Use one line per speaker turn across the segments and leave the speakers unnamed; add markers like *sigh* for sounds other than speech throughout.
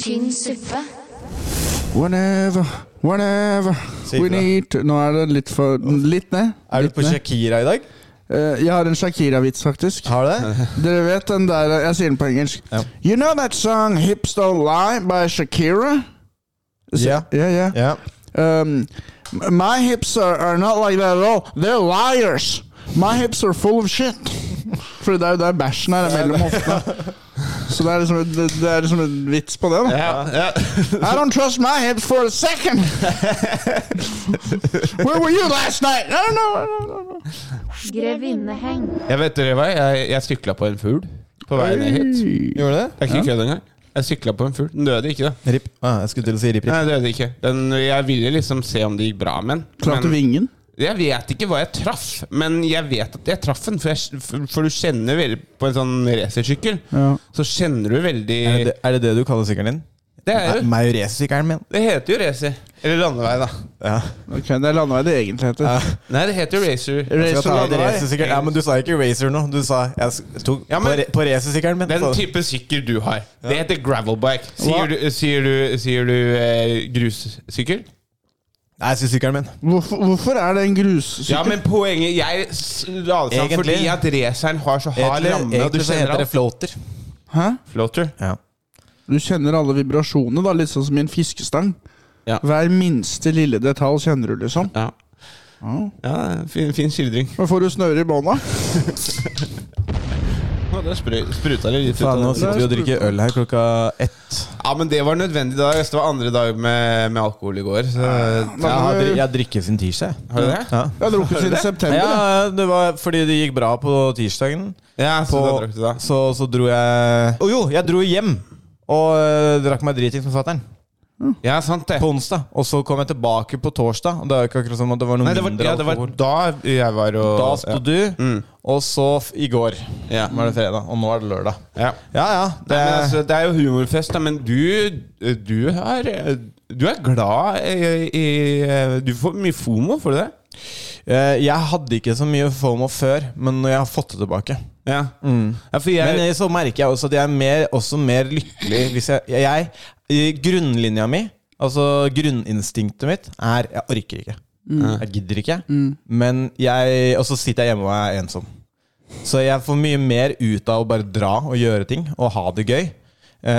tynn suppe.
Whenever, whenever
Si
we
ifra.
need to Nå er det litt for Litt ned.
Er du
litt
på
ned.
Shakira i dag?
Eh, jeg har en Shakira-vits, faktisk.
Har du *laughs* det?
Dere vet den der eh, Jeg sier den på engelsk.
Ah. Ja.
You know that song Hips Don't Lie by Shakira? Is it-
Yeah.
yeah, yeah.
Ja.
Um, my hips are, are not like that at all. They're liars. My hips are full of shit. For det er jo der bæsjen er, er mellom hoftene. Så det er liksom, det, det er liksom en vits på det. da
Ja.
I don't trust my hips for a *laughs* second. Where were you last night? No, no, no, no, no.
Grevinneheng.
Jeg vet dere hva, jeg, jeg sykla på en fugl på vei ned hit.
Gjorde du det?
Det er ikke kødd engang. Jeg sykla på en fugl. Den døde ikke, da.
Rip. Ah, jeg skulle til å si rip, rip.
Nei, den døde ikke. Den, jeg ville liksom se om det gikk bra med den.
Klarte
men-
vingen.
Jeg vet ikke hva jeg traff, men jeg vet at jeg traff den. For, jeg, for du kjenner veldig på en sånn racersykkel.
Ja.
Så kjenner du veldig
Er det, er det det du kaller sykkelen din?
Det er jo
Majoresykkelen min.
Det heter jo racer. Eller landevei, da.
Ja.
Ok, Det er landevei det egentlig heter.
Ja.
Nei, det heter jo racer.
Jeg
Racer
skal ta et
landevei.
racersykkel. Ja, men du sa ikke racer nå. Du sa jeg s- tok
Ja, men-
på, re på racersykkelen min.
Altså, Den
så-
type sykkel du har, det heter gravelbike. Sier
Hva?
du, sier du, sier du eh, grussykkel?
Nei, jeg sier sykkelen min.
Hvorfor, hvorfor er det en grussykkel?
Ja, men poenget Jeg s- la det seg fordi
Egentlig-
at raceren har så hard ramme, og du
så
kjenner alt.
floater.
Hæ?
Floater.
Ja.
Du kjenner alle vibrasjonene, da, litt sånn som i en fiskestang.
Ja.
Hver minste lille detalj kjenner du, liksom.
Ja. ja fin, fin skildring.
Men får du snøre i bånda?
Å, Der sprø- spruta det litt ut.
Faen, altså. nå
av
sitter
den.
vi og drikker øl her klokka ett.
Ja, men det var nødvendig da. Det var andre dag med, med alkohol i går. Så,
da
Jeg
ja,
må
har,
du-
dri- jeg drikker sin tirsdag.
Har du det?
Ja.
Jeg har
*laughs*
drukket siden
Nei,
september. jeg.
ja, det var fordi det gikk bra på tirsdagen.
ja så
På,
da drakk du da.
så, så dro jeg Å jo, jeg dro hjem! Og øh, drakk meg dritings med fatter'n
Ja, sant det.
på onsdag. Og så kom jeg tilbake på torsdag, og det er jo ikke akkurat som at det var noe
Nei, det var,
mindre
ja, det var
alkohol.
da Mm. jeg var og
Da sto du, og så f i går
Ja.
var det fredag, og nå er det lørdag.
ja.
Ja ja,
Nei,
det,
men altså, det er jo humorfest, da, men du, du er Du er glad i, i Du får mye fomo, får du det?
eh, jeg hadde ikke så mye FOMO før, men jeg har fått det tilbake.
Ja. ja for jeg,
Men eh, så merker jeg også at jeg er mer, også mer lykkelig hvis jeg, jeg, jeg Grunnlinja mi, altså grunninstinktet mitt, er jeg orker ikke. Jeg gidder ikke. Men jeg, og så sitter jeg hjemme og er ensom. Så jeg får mye mer ut av å bare dra og gjøre ting og ha det gøy.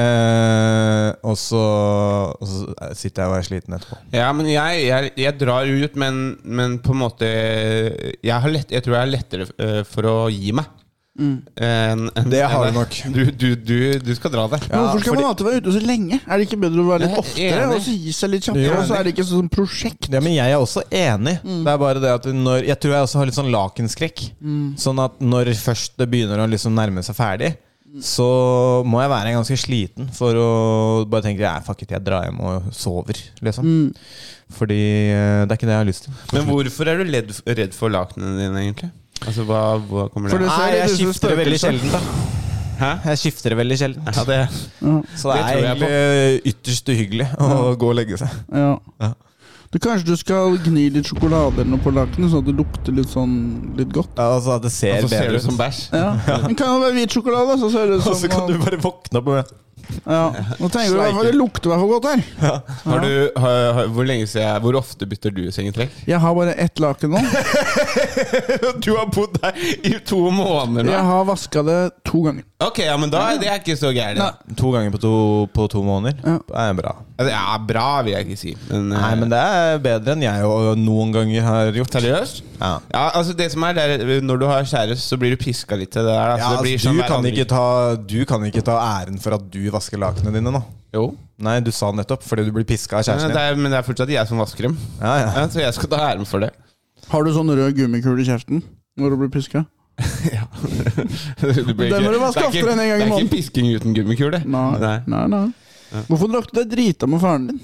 Eh, og, så, og så sitter jeg og er sliten etterpå.
Ja, men jeg, jeg, jeg drar ut, men, men på en måte Jeg, har lett, jeg tror jeg har lettere eh, for å gi meg. enn- enn-
Det har
enn
du
deg. Du, du, du, du skal dra deg.
Men hvorfor skal
fordi-
man alltid være ute så lenge? Er det ikke bedre å være litt
Jeg er
oftere
enig.
og så gi seg litt
Jeg er
kjappere? Og så er det ikke sånn prosjekt.
Ja, men jeg er også enig. Det er bare det at når, Jeg tror jeg også har litt sånn lakenskrekk. Sånn at når først det begynner å liksom nærme seg ferdig, så må jeg være ganske sliten for å bare tenke ja, fuck it, jeg drar hjem og sover, liksom. Fordi eh, det er ikke det jeg har lyst til.
Men hvorfor er du redd, redd for lakenene dine, egentlig? Altså, hva, hva kommer
For
det
det-
Nei,
ser litt
jeg
ut som
skifter det veldig
spøkelse.
sjelden, da.
Hæ?
Jeg skifter det veldig sjelden.
Ja, det,
Så det,
det
er
tror jeg på.
egentlig ytterst uhyggelig å gå og legge seg.
Ja.
Ja.
Du, kanskje du skal gni litt sjokolade eller noe på lakenet, sånn at det lukter litt sånn litt godt?
Ja, Altså at det ser
så ser
bedre
du
ut.
som bæsj.
Ja. Men kan det være hvit sjokolade, altså, så *laughs* ser det ut
Og
som
så kan du bare våkne opp og
ja. Nå tenker du i hvert fall det lukter i hvert fall godt her.
Har du, har, har, hvor, lenge siden, hvor ofte bytter du sengetrekk?
Jeg har bare ett laken nå.
*laughs*
*laughs*
Du har bodd her i to måneder
Jeg har vaska det to ganger.
Ok, ja, men da er det ikke så gærent.
Nei.
To ganger på to, på to måneder. Det er bra.
Ja, det er bra, vil jeg ikke si. Men, eh,
Nei, men det er bedre enn jeg og noen ganger Eh. har gjort.
Seriøst?
Ja.
Ja, altså det som er der, Når du har kjæreste, så blir du piska litt til det der. da. Så
Ja,
det blir
altså,
sånn
du,
hver
kan
andre-
ikke ta, du kan ikke ta æren for at du vasker lakenene dine nå.
Jo.
Nei, du sa nettopp fordi du blir piska av
Men
kjæresten
det,
din.
er, men det er fortsatt jeg som vasker dem.
Ja, ja.
Ja, så jeg skal ta æren for det. *laughs*
Har du sånn rød gummikule i kjeften når du blir piska?
Du blir
Den må
ikke-
du vaske
det er ikke-
oftere enn en gang i
Det er
måneden.
ikke pisking uten gummikule.
Nei. Nei. Nei, Hvorfor drakk du deg drita med faren din?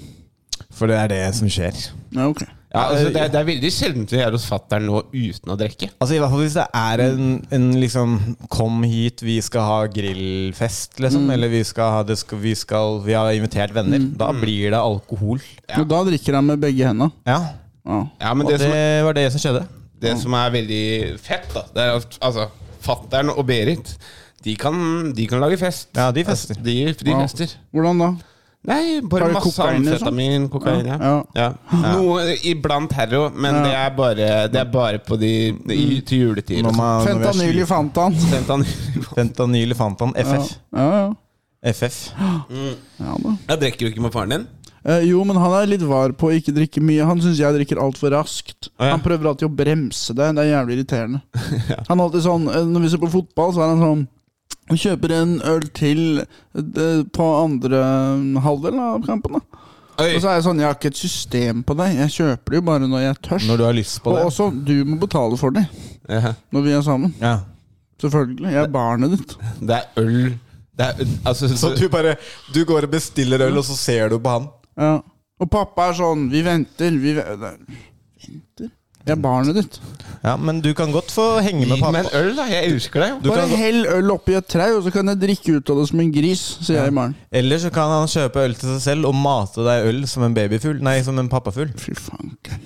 For det er det som skjer.
Ja, ok.
Ja, altså, det, er, det er veldig sjelden vi er hos fatter'n nå uten å drikke.
Altså I hvert fall hvis det er en, en liksom Kom hit, vi skal ha grillfest, liksom. Eller vi skal ha det skal, vi, skal, vi har invitert venner. Da blir det alkohol.
Og da drikker han med begge hendene.
Ja.
Ja.
Ja, men
Og
det,
det,
som,
var det som skjedde.
er- det som er veldig fett, da Det er at altså, fatter'n og Berit de kan, de kan lage fest.
Ja, de fester.
De, de
Ja.
fester.
Hvordan da?
Nei, bare
Har du
masse
kokain, liksom?
amfetamin, kokain. Ja.
Ja,
Ja. Noe iblant herro, men
Ja.
det, er bare, det er bare på de i,
Mm.
til altså. juletider.
Når
*laughs* og
man- når vi er
Fentanyl i
sliten.
Fantan.
sånt. Fentanyl.
Fentanyl i Fantan.
Ja,
FF.
ja, ja.
FF.
ja da.
Jeg drikker jo ikke med faren din.
Eh, jo, men han er litt var på å ikke drikke mye. Han syns jeg drikker altfor raskt.
Å, ja.
Han prøver alltid å bremse det. Det er jævlig irriterende. Han er alltid sånn eh, Når vi ser på fotball, så er han sånn han kjøper en øl til eh, på andre mm, halvdel av kampen. da
Oi.
Og så er jeg sånn, jeg har ikke et system på det. Jeg kjøper det jo bare når jeg er tørst.
Når du har lyst på
Og
det.
også, du må betale for det
Ja.
når vi er sammen.
Ja.
Selvfølgelig. Jeg er barnet ditt.
Det er øl det er, altså,
Så du bare Du går og bestiller øl, og så ser du på han.
Ja. Og pappa er sånn Vi venter, vi ve- Venter? Jeg er barnet ditt.
Ja, men du kan godt få henge med
Gi meg
pappa.
en øl, da. Jeg elsker deg.
Du
Bare
kan gå-
hell øl oppi et trau, og så kan jeg drikke ut av det som en gris, sier jeg i morgen.
Eller så kan han kjøpe øl til seg selv og mate deg øl som en babyfugl. Nei, som en pappafugl.
Fy fanken.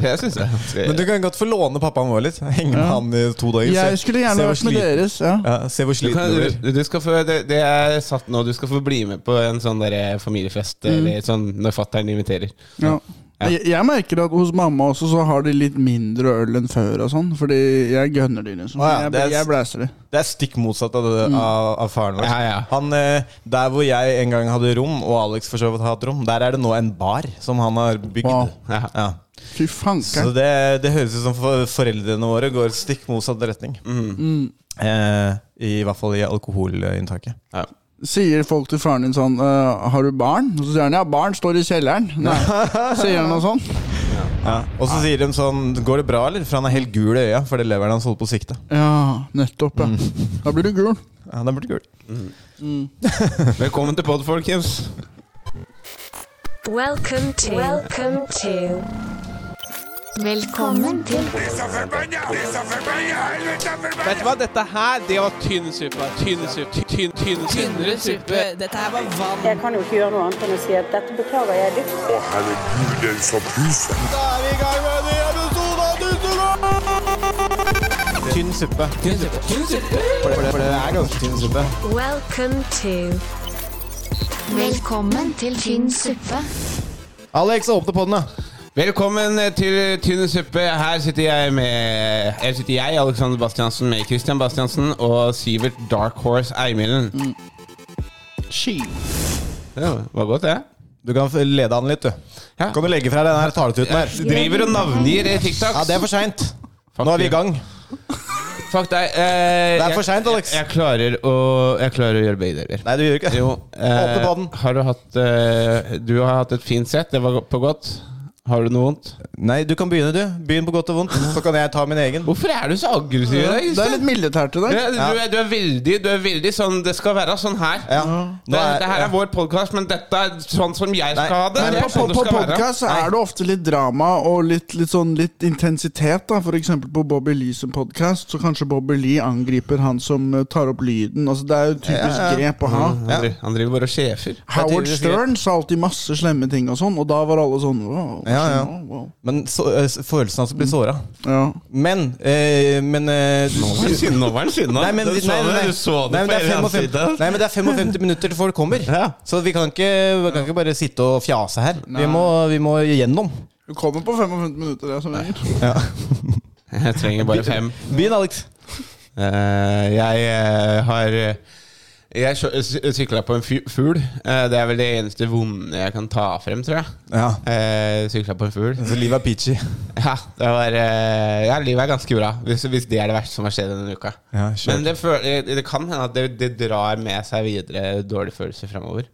Det synes jeg.
*laughs* Men du kan godt få låne pappaen vår litt. Henge med
Ja.
han i to dager.
Jeg skulle gjerne vært med
sliten,
deres. Ja.
ja, se hvor
Du
sliten
kan,
du blir.
du, du skal få, det, det er satt nå, du skal få bli med på en sånn der eh, familiefest
Mm.
eller sånn når fattern inviterer.
Ja. Jeg, jeg merker at hos mamma også så har de litt mindre øl enn før og sånn. Fordi jeg gønner de, liksom.
Å ja,
Jeg,
det er-
jeg blæser de.
Det er stikk motsatt av,
Mm.
det, av, av faren vår.
Ja, ja.
Han, eh, der hvor jeg en gang hadde rom, og Alex for så vidt har hatt rom, der er det nå en bar som han har bygd.
Wow.
Ja.
Ja.
Fy
Så
fanken.
det, det høres ut som for foreldrene våre går stikk motsatt retning. Eh, I hvert fall i alkoholinntaket.
Ja.
Sier folk til faren din sånn «Øh, Har du barn? Og så sier han ja, barn står i kjelleren. Nei.
*laughs*
Sier han noe sånn? sånt?
Ja. Og så sier de sånn Går det bra, eller? For han er helt gul i øya fordi leveren hans holder på å sikte.
Ja, nettopp, ja.
Mm.
Da blir du gul.
Ja, den burde gul.
Velkommen til pod, folkens.
Welcome to. Welcome to.
Velkommen til
Vet du hva, dette her, det var tynn suppe. Tynn suppe. Tynn, tynn,
tynnere suppe. Dette her var vann.
Jeg kan jo ikke gjøre noe annet enn å si at dette beklager jeg dypt.
Å, herregud, den som puser.
Da er vi i gang med en ny episode av Dusenborg! Tynn suppe. Tynn suppe. For, det, for det er ganske tynn suppe.
Welcome to.
Velkommen til tynn suppe.
Alex, åpne podden, da.
Velkommen eh, til Tynn suppe. Her sitter jeg med Her sitter jeg, Alexander Bastiansen, med Christian Bastiansen og Sivert Dark Horse Eimilden.
Mm.
Ski.
Ja, var godt, det.
Du kan f- lede han litt, du.
Ja.
Kan du legge fra deg den her taletuten der?
Driver og navngir i TikTok.
Ja, det er for seint. Nå er vi i gang.
Fuck deg. eh,
Det er for
jeg-
sent, Alex.
Jeg, jeg, klarer å, jeg klarer å gjøre begge deler.
Nei, du gjør ikke det.
Jo. eh,
Åpne podden.
har du hatt eh, Du har hatt et fint sett. Det var på godt. Har du noe vondt?
Nei, du kan begynne, du. Begynn på godt og vondt, så kan jeg ta min egen.
Hvorfor er du så aggressiv i dag?
Det er litt militært i dag.
Ja, du, er, du, er veldig, du er veldig sånn Det skal være sånn her.
Ja.
Det,
Nå
det her er vår podkast, men dette er sånn som jeg skal
Nei,
ha det.
nei,
det
På,
er
på,
sånn det
på
skal være.
podkast er det ofte litt drama og litt, litt, sånn, litt intensitet. da For eksempel på Bobby Lee sin podkast, så kanskje Bobby Lee angriper han som eh, tar opp lyden. Altså Det er jo typisk grep å ha.
Han, driver, han driver bare og sjefer.
Howard
typisk
Stern sa alltid masse slemme ting, og sånn Og da var alle sånn wow,
Ja, ja.
wow, wow.
Men så, eh, følelsen av å bli såra.
ja.
Men eh, Men eh, du,
Nå var han sinna.
Nei, men,
Du
nei,
så
nei,
det,
nei.
du så det
Nei, men det
på
er 55
hele ansiktet.
Nei, men det er 55 minutter til folk kommer.
Ja.
Så vi kan ikke, vi kan ikke bare sitte og fjase her. Vi må, vi må gjennom.
Du kommer på 55 minutter, det er som regel.
Jeg trenger bare fem.
Begynn, Alex.
Eh, jeg eh, har eh, Jeg sykla på en fu- fugl. Eh, det er vel det eneste vonde jeg kan ta frem, tror jeg.
Ja.
Uh, sykla på en fugl. *laughs*
Så livet er peachy.
Ja, det var, eh, ja, livet er ganske bra, hvis, hvis det er det verste som har skjedd denne uka.
Ja, sure.
Men det, føl- eh, det kan hende at det, det drar med seg videre dårlige følelser framover.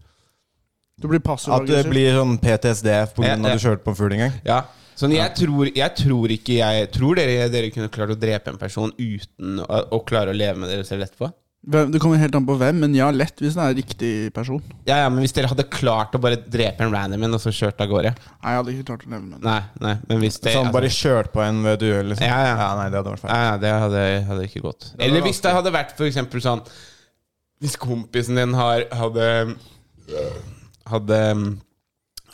Du blir passiv
At det
aggressiv.
blir sånn PTSD pga.
Ja,
at du kjørte på en fugl en gang.
Ja. Sånn, jeg, tror, jeg tror ikke jeg Tror dere dere kunne klart å drepe en person uten å, å klare å leve med dere selv etterpå?
Hvem- Det kommer helt an på hvem, men ja, lett hvis det er riktig person.
Ja, ja, men Hvis dere hadde klart å bare drepe en random en og så kjørt av gårde
Nei, jeg hadde ikke klart å leve med det.
Nei, nei, men hvis det altså-
Sånn bare kjørt på en ved et uhell, liksom.
Ja, ja.
nei, det hadde vært feil.
Nei, nei, det hadde, hadde ikke gått. Eller hvis det hadde vært for eksempel sånn Hvis kompisen din har, hadde Hadde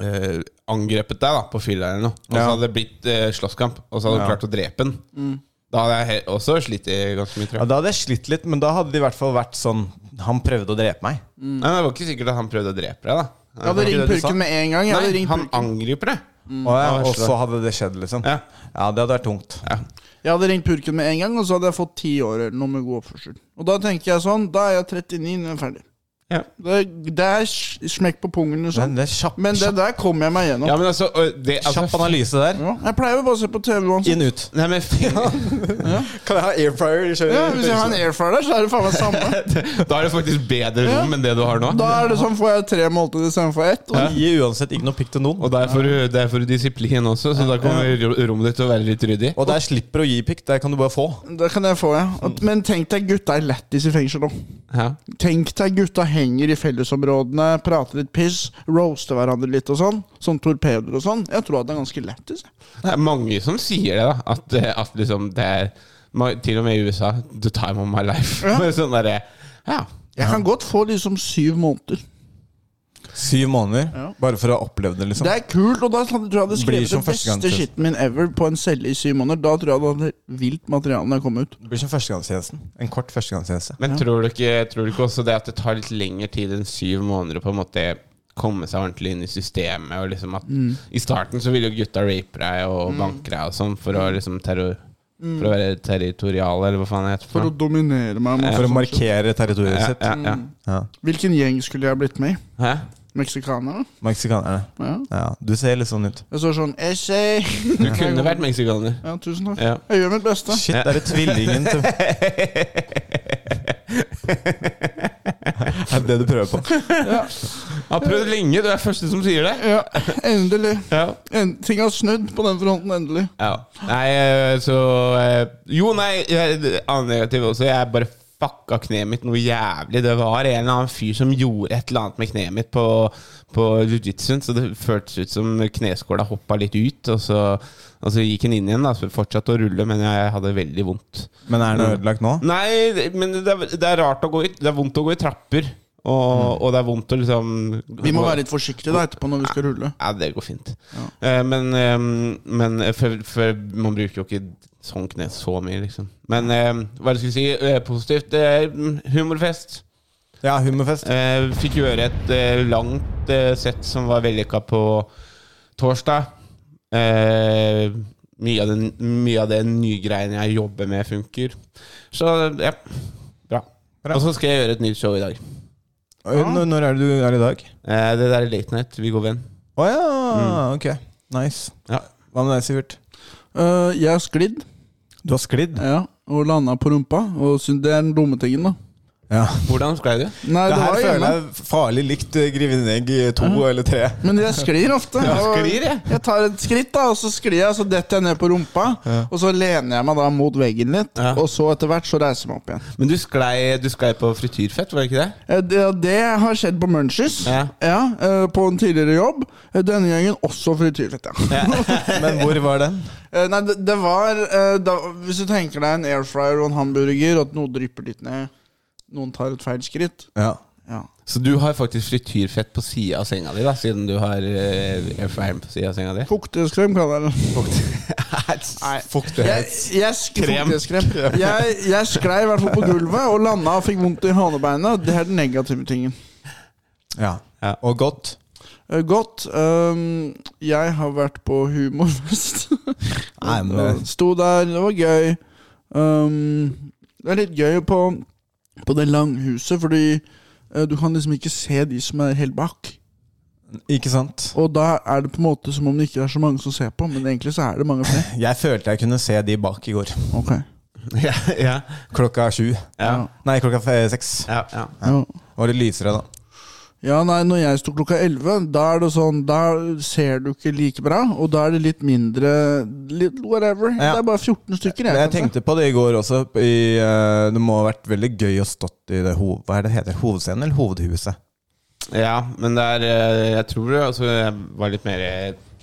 eh, angrepet deg da på fylla eller noe, og så
Ja.
hadde det blitt eh, slåsskamp, og så hadde du
Ja. Mm.
klart å drepe den. Da hadde jeg he- også slitt i ganske mye, tror
Ja,
jeg.
da hadde jeg slitt litt, men da hadde det i hvert fall vært sånn Han prøvde å drepe meg.
Nei, men det var ikke sikkert at han prøvde å drepe deg, da.
Jeg hadde ringt
du sa?
purken med en gang. Jeg hadde
Nei,
ringt
han
purken,
angriper deg.
Og, ja,
Ja,
og
varsler.
så hadde det skjedd, liksom.
Ja.
Ja, det hadde vært tungt.
jeg hadde ringt purken med en gang og så hadde jeg fått ti år eller noe med god oppførsel. Og da tenker jeg sånn, da er jeg 39 når jeg er ferdig.
Ja.
Det, det er sj- smekk på pungen, liksom.
Men det er kjapp,
Men det
kjapp,
der kommer jeg meg gjennom.
Ja, men altså, og det, altså
kjapp analyse der.
Ja, jeg pleier jo bare å se på TV uansett.
Inn ut.
Nei, men *laughs*
Kan jeg ha air fryer?
Ja, hvis jeg har en airfryer der, så er det faen meg samme.
Da er det faktisk bedre rom enn det du har nå.
Da er det sånn, får jeg tre måltider istedenfor ett. Og
Gi uansett ikke noe pikk til noen.
Og der får, du, der får du disiplin også, så da kommer ro- rommet ditt til å være litt ryddig.
Og der slipper å gi pikk. Der kan du bare få.
det kan jeg få, ja. At- Men tenk deg gutta er lættis i fengsel òg.
Ja.
Tenk deg gutta henger i fellesområdene, prater litt piss, roaster hverandre litt og sånn. Sånn torpedoer og sånn. Jeg tror at det er ganske lættis.
Det er mange som sier det, da. At, eh, at liksom det er ma- Til og med i USA. The time of my life. *laughs*
Ja.
Med sånn derre Ja.
Jeg kan godt få liksom syv måneder.
Syv måneder. Bare for å ha opplevd det,
Det
liksom.
er kult, og da tror jeg jeg hadde
Blir
skrevet
som
den
første gang
beste
til.
skitten min ever på en celle i syv måneder. Da tror jeg det hadde vilt materiale når jeg kom ut.
Det blir som førstegangstjenesten. En kort førstegangstjeneste.
Men tror du, ikke, tror du ikke også det at det tar litt lengre tid enn syv måneder å på en måte komme seg ordentlig inn i systemet? Og liksom at
Mm.
I starten så vil jo gutta rape deg og banke deg og sånn for
Mm.
å liksom terror... For å være territorial, eller hva faen det heter.
For å
noe.
dominere meg. mot
For å
sånn shit.
markere territoriet
ja,
sitt.
ja, ja.
Ja.
Hvilken gjeng skulle jeg blitt med i?
Hæ?
Meksikanerne?
Meksikanerne.
Ja.
Ja. Du ser litt sånn ut.
Jeg står sånn Essay!
Du kunne vært meksikaner.
*laughs* Ja, tusen takk.
Ja.
Jeg gjør mitt beste.
Shit, det er det tvillingen til Er det det du prøver på?
Jeg har prøvd lenge, du er første som sier det.
Ja, endelig.
Ja.
En, ting har snudd på den fronten, endelig.
Ja. Nei, eh, så eh, Jo, nei, jeg, det- annen negativ også. Jeg bare fucka kneet mitt noe jævlig. Det var en eller annen fyr som gjorde et eller annet med kneet mitt på, på jiu-jitsuen, så det føltes ut som kneskåla hoppa litt ut, og så, og så gikk den inn igjen. da, Så fortsatte å rulle, men jeg hadde veldig vondt.
Men er den ødelagt nå?
Nei, det- men det er, det er rart å gå i Det er vondt å gå i trapper, og, og det er vondt å liksom
Mm. Vi må
gå-
være litt forsiktige da etterpå når vi skal rulle.
ja, det går fint. Eh, men eh, men for, for man bruker jo ikke sånn kne så mye, liksom. Men eh, hva er det jeg skulle si? Eh, positivt. eh, humorfest.
Ja, humorfest.
Eh, fikk gjøre et eh, langt eh, sett som var vellykka på torsdag. Eh, mye, av den, mye av den nygreien jeg jobber med, funker. Så ja, bra.
Bra.
Og så skal jeg gjøre et nytt show i dag.
Oi, Når, når er det du er i dag?
Eh, det der er Late Night, Viggo Venn.
Å ja, ok. Nice.
Ja.
Hva med deg, Sivert?
Øh, jeg har sklidd
Du har sklidd.
ja, og landa på rumpa. Og syns det er den dumme tingen, da.
Ja.
Hvordan sklei du?
Nei,
Det
det
her
var
føler
hjemme.
jeg er farlig likt eh, Grevinnegg i to eller tre.
Men jeg sklir ofte. og
sklir, ja.
jeg tar et skritt, da, og så sklir jeg, så detter jeg ned på rumpa. Og så lener jeg meg da mot veggen litt,
Ja.
og så etter hvert så reiser jeg meg opp igjen.
Men du sklei, du sklei på frityrfett, var det ikke det?
Eh, Det, det har skjedd på Munchies,
Ja.
eh, på en tidligere jobb. Eh, Denne gangen også frityrfett, ja.
Men hvor var den?
Eh, Nei, det, det var eh, da, Hvis du tenker deg en airfryer og en hamburger, og at noe drypper litt ned Noen tar et feil skritt.
Ja.
Ja.
Så du har faktisk frityrfett på sida av senga di, da, siden du har eh, airfryer på sida av senga di?
Fukteskrem kaller jeg det.
Nei.
Jeg,
Fuktighet.
jeg, sk
Krem.
fukteskrem. jeg, jeg sklei i hvert fall på gulvet og landa og fikk vondt i hanebeinet. Det er den negative tingen.
Ja. Og godt.
Eh, Godt. ehm, jeg har vært på humorfest.
Nei, men det
Og Sto der, det var gøy. Um, det er litt gøy på, på det langhuset, fordi eh, du kan liksom ikke se de som er helt bak.
Ikke sant?
Og da er det på en måte som om det ikke er så mange som ser på, men egentlig så er det mange
*laughs*
flere.
Jeg følte jeg kunne se de bak i går.
Ok
*laughs* Ja, ja,
Klokka sju.
ja,
Nei, klokka fe- seks.
ja, ja.
ja.
Var det lysere da?
ja, nei, når jeg sto klokka 11, da er det sånn Da ser du ikke like bra, og da er det litt mindre litt Whatever.
Ja.
Det er bare 14 stykker. Jeg,
Men jeg
kan se.
tenkte på det i går også. I, eh, det må ha vært veldig gøy å stått i det hov... Hva er det heter? Hovedscenen eller hovedhuset?
ja men det er eh, Jeg tror det altså, jeg var litt mer eh,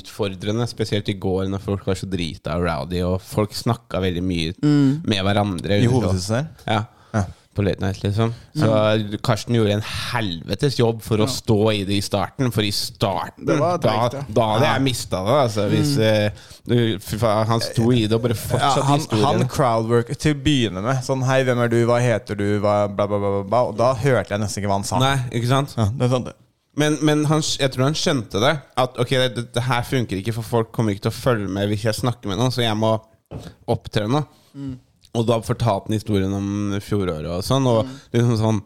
utfordrende, spesielt i går, når folk var så drita og rowdy, og folk snakka veldig mye med hverandre. liksom.
I
under
hovedhuset der.
Ja.
Ja.
på late night, liksom. Så Karsten gjorde en helvetes jobb for å stå i det i starten, for i starten
Det var
Da,
treigt, ja.
da hadde jeg mista det, altså. Hvis, eh, du- fy faen, han sto i det og bare
Ja,
fortsatte
han, han
historien.
crowdwork til å begynne med. Sånn 'Hei, hvem er du? Hva heter du?' Hva, bla, bla, bla, bla, bla. Og da hørte jeg nesten ikke hva han sa.
Nei, ikke sant?
Ja, det er sant, det.
Men, men han, jeg tror han skjønte det. At ok, det, det her funker ikke, for folk kommer ikke til å følge med hvis jeg snakker med noen, så jeg må opptre nå.
Mm.
Og da fortalte han historien om fjoråret og sånn. Og
Mm.
liksom sånn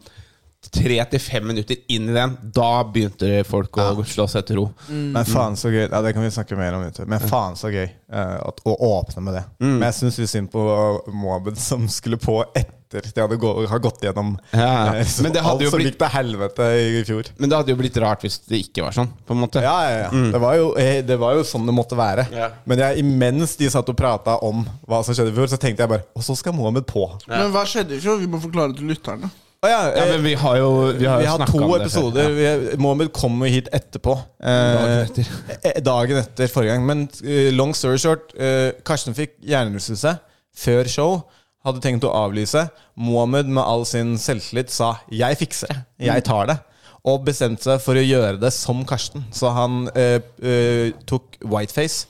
tre til fem minutter inn i den, da begynte folk å slå seg til ro.
Men faen så gøy. Ja, det kan vi snakke mer om. vet du. Men faen så gøy eh, at, å åpne med det.
Mm.
Men jeg syns litt synd på Moabed som skulle på etter de hadde gå, har gått gjennom
Ja, ja.
eh, liksom,
Men det hadde
alt
jo
som
blitt-
gikk til helvete i, i fjor.
Men det hadde jo blitt rart hvis det ikke var sånn. På en måte
Ja, ja, ja.
Mm.
Det, var jo, eh, det var jo sånn det måtte være.
Ja.
Men jeg, imens de satt og prata om hva som skjedde i fjor, så tenkte jeg bare Og så skal Mohammed på. Å
Men hva skjedde i fjor? Vi må forklare til lytterne.
ja,
Ja,
eh,
men vi har jo Vi har,
Vi
jo
har
snakket
to
om det før.
episoder.
Ja.
Vi- Mohammed kom jo hit etterpå.
Dagen
etter. dagen etter forrige gang. Men eh, long story short, eh, Karsten fikk hjernerystelse før show. Hadde tenkt å avlyse. Mohammed med all sin selvtillit sa 'jeg fikser det', 'jeg tar det'. Og bestemte seg for å gjøre det som Karsten. Så han eh, eh, tok whiteface.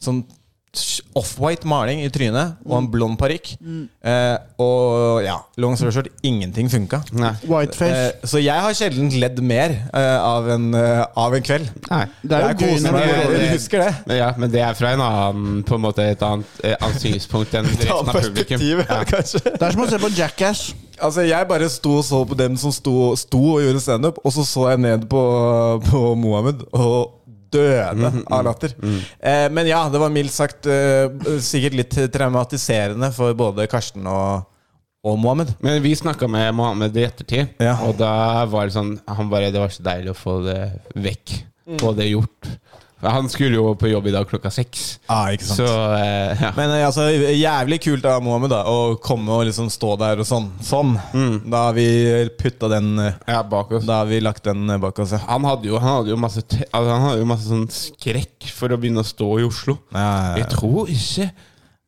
Sånn offwhite maling i trynet og en blond parykk. Eh, og ja, long story short, ingenting funka.
Nei.
Whiteface.
Eh, Så jeg har sjelden ledd mer eh, av, en, eh, av en kveld.
Nei.
det er jo
jeg
gøy
koser
når det
meg med
går
dere
over.
husker det.
Men Ja, men det er fra en annen På en måte et annet, eh, annet
*laughs*
synspunkt enn
Ta
resten av publikum.
perspektivet,
Ja.
kanskje.
Det er som å se på Jackass.
Altså, jeg bare sto og så på dem som sto, sto og gjorde standup, og så så jeg ned på, på Mohammed og døde
Mhm,
av latter. Eh, men ja, det var mildt sagt eh, sikkert litt traumatiserende for både Karsten og, og Mohammed.
Men vi snakka med Mohammed i ettertid,
Ja.
og da var det sånn Han bare Det var så deilig å få det vekk.
Mm.
Få det gjort. For Han skulle jo på jobb i dag klokka seks.
Ah, ikke
Så eh, ja.
Men eh, altså, jævlig kult av Mohammed da, å komme og liksom stå der og sånn. Sånn. Da har vi putta den eh,
ja, bak oss.
Da har vi lagt den eh, bak oss, ja.
Han hadde jo, han hadde jo masse, te- altså, han hadde jo masse sånn skrekk for å begynne å stå i Oslo.
Ja, ja, ja.
Jeg tror ikke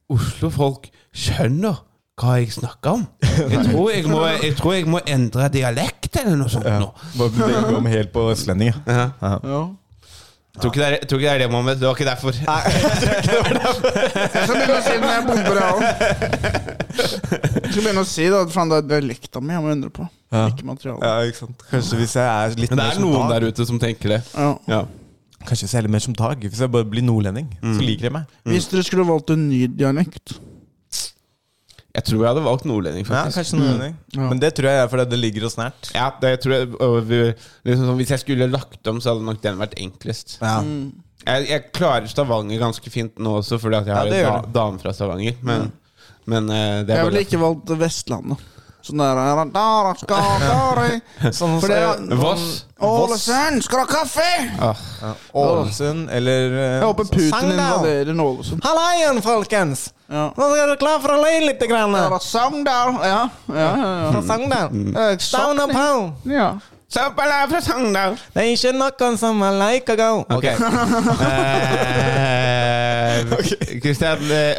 Oslo-folk skjønner hva jeg snakker om. Jeg tror jeg må, jeg tror jeg må endre dialekt eller noe sånt nå.
Bare legge om helt på østlending, ja.
Ja.
Ja.
Tror ikke det er- tror ikke det er det, Mohammed. Det var ikke derfor. *laughs*
Jeg skal begynne å si det når jeg bomber, jeg òg. Jeg skal begynne å si da, at faen, det er dialekta mi jeg må undre på. Ikke materialet.
ikke sant. Kanskje hvis jeg er litt
Men det
mer
er
som
noen
Dag.
der ute som tenker det.
Ja.
Ja.
Kanskje hvis jeg er litt mer som Dag. Hvis jeg bare blir nordlending, så liker de meg.
Hvis dere skulle valgt en ny dialekt
Jeg tror jeg hadde valgt nordlending,
Ja,
faktisk.
kanskje nordlending.
Mm. Ja.
Men det tror jeg er fordi det ligger oss nært.
Ja, det tror jeg og vi- liksom sånn, Hvis jeg skulle lagt om, så hadde nok den vært enklest.
Ja.
Mm.
Jeg, jeg klarer Stavanger ganske fint nå også, fordi at jeg har
det gjør
en da, dame fra Stavanger. Men, men eh, det er
Jeg ville
bare
ikke valgt Vestlandet. Sånn der Radaraskakari.
Sånn
For det er-
sånn-
Voss.
Voss.
Ålesund, skal du ha kaffe?
Ålesund eller eh,
Jeg håper Putin
Sogndal.
invaderer Ålesund.
Halla igjen, folkens!
Ja.
Nå er du klar for å le litt? Grann.
Ja, da, Sogndal. Ja, ja, ja. ja.
Fra Sogndal. Down og pound.
ja.
Søppel er fra Sogndal!
Det er ikke noen som er like go.
Ok. Eh, Kristian, eh,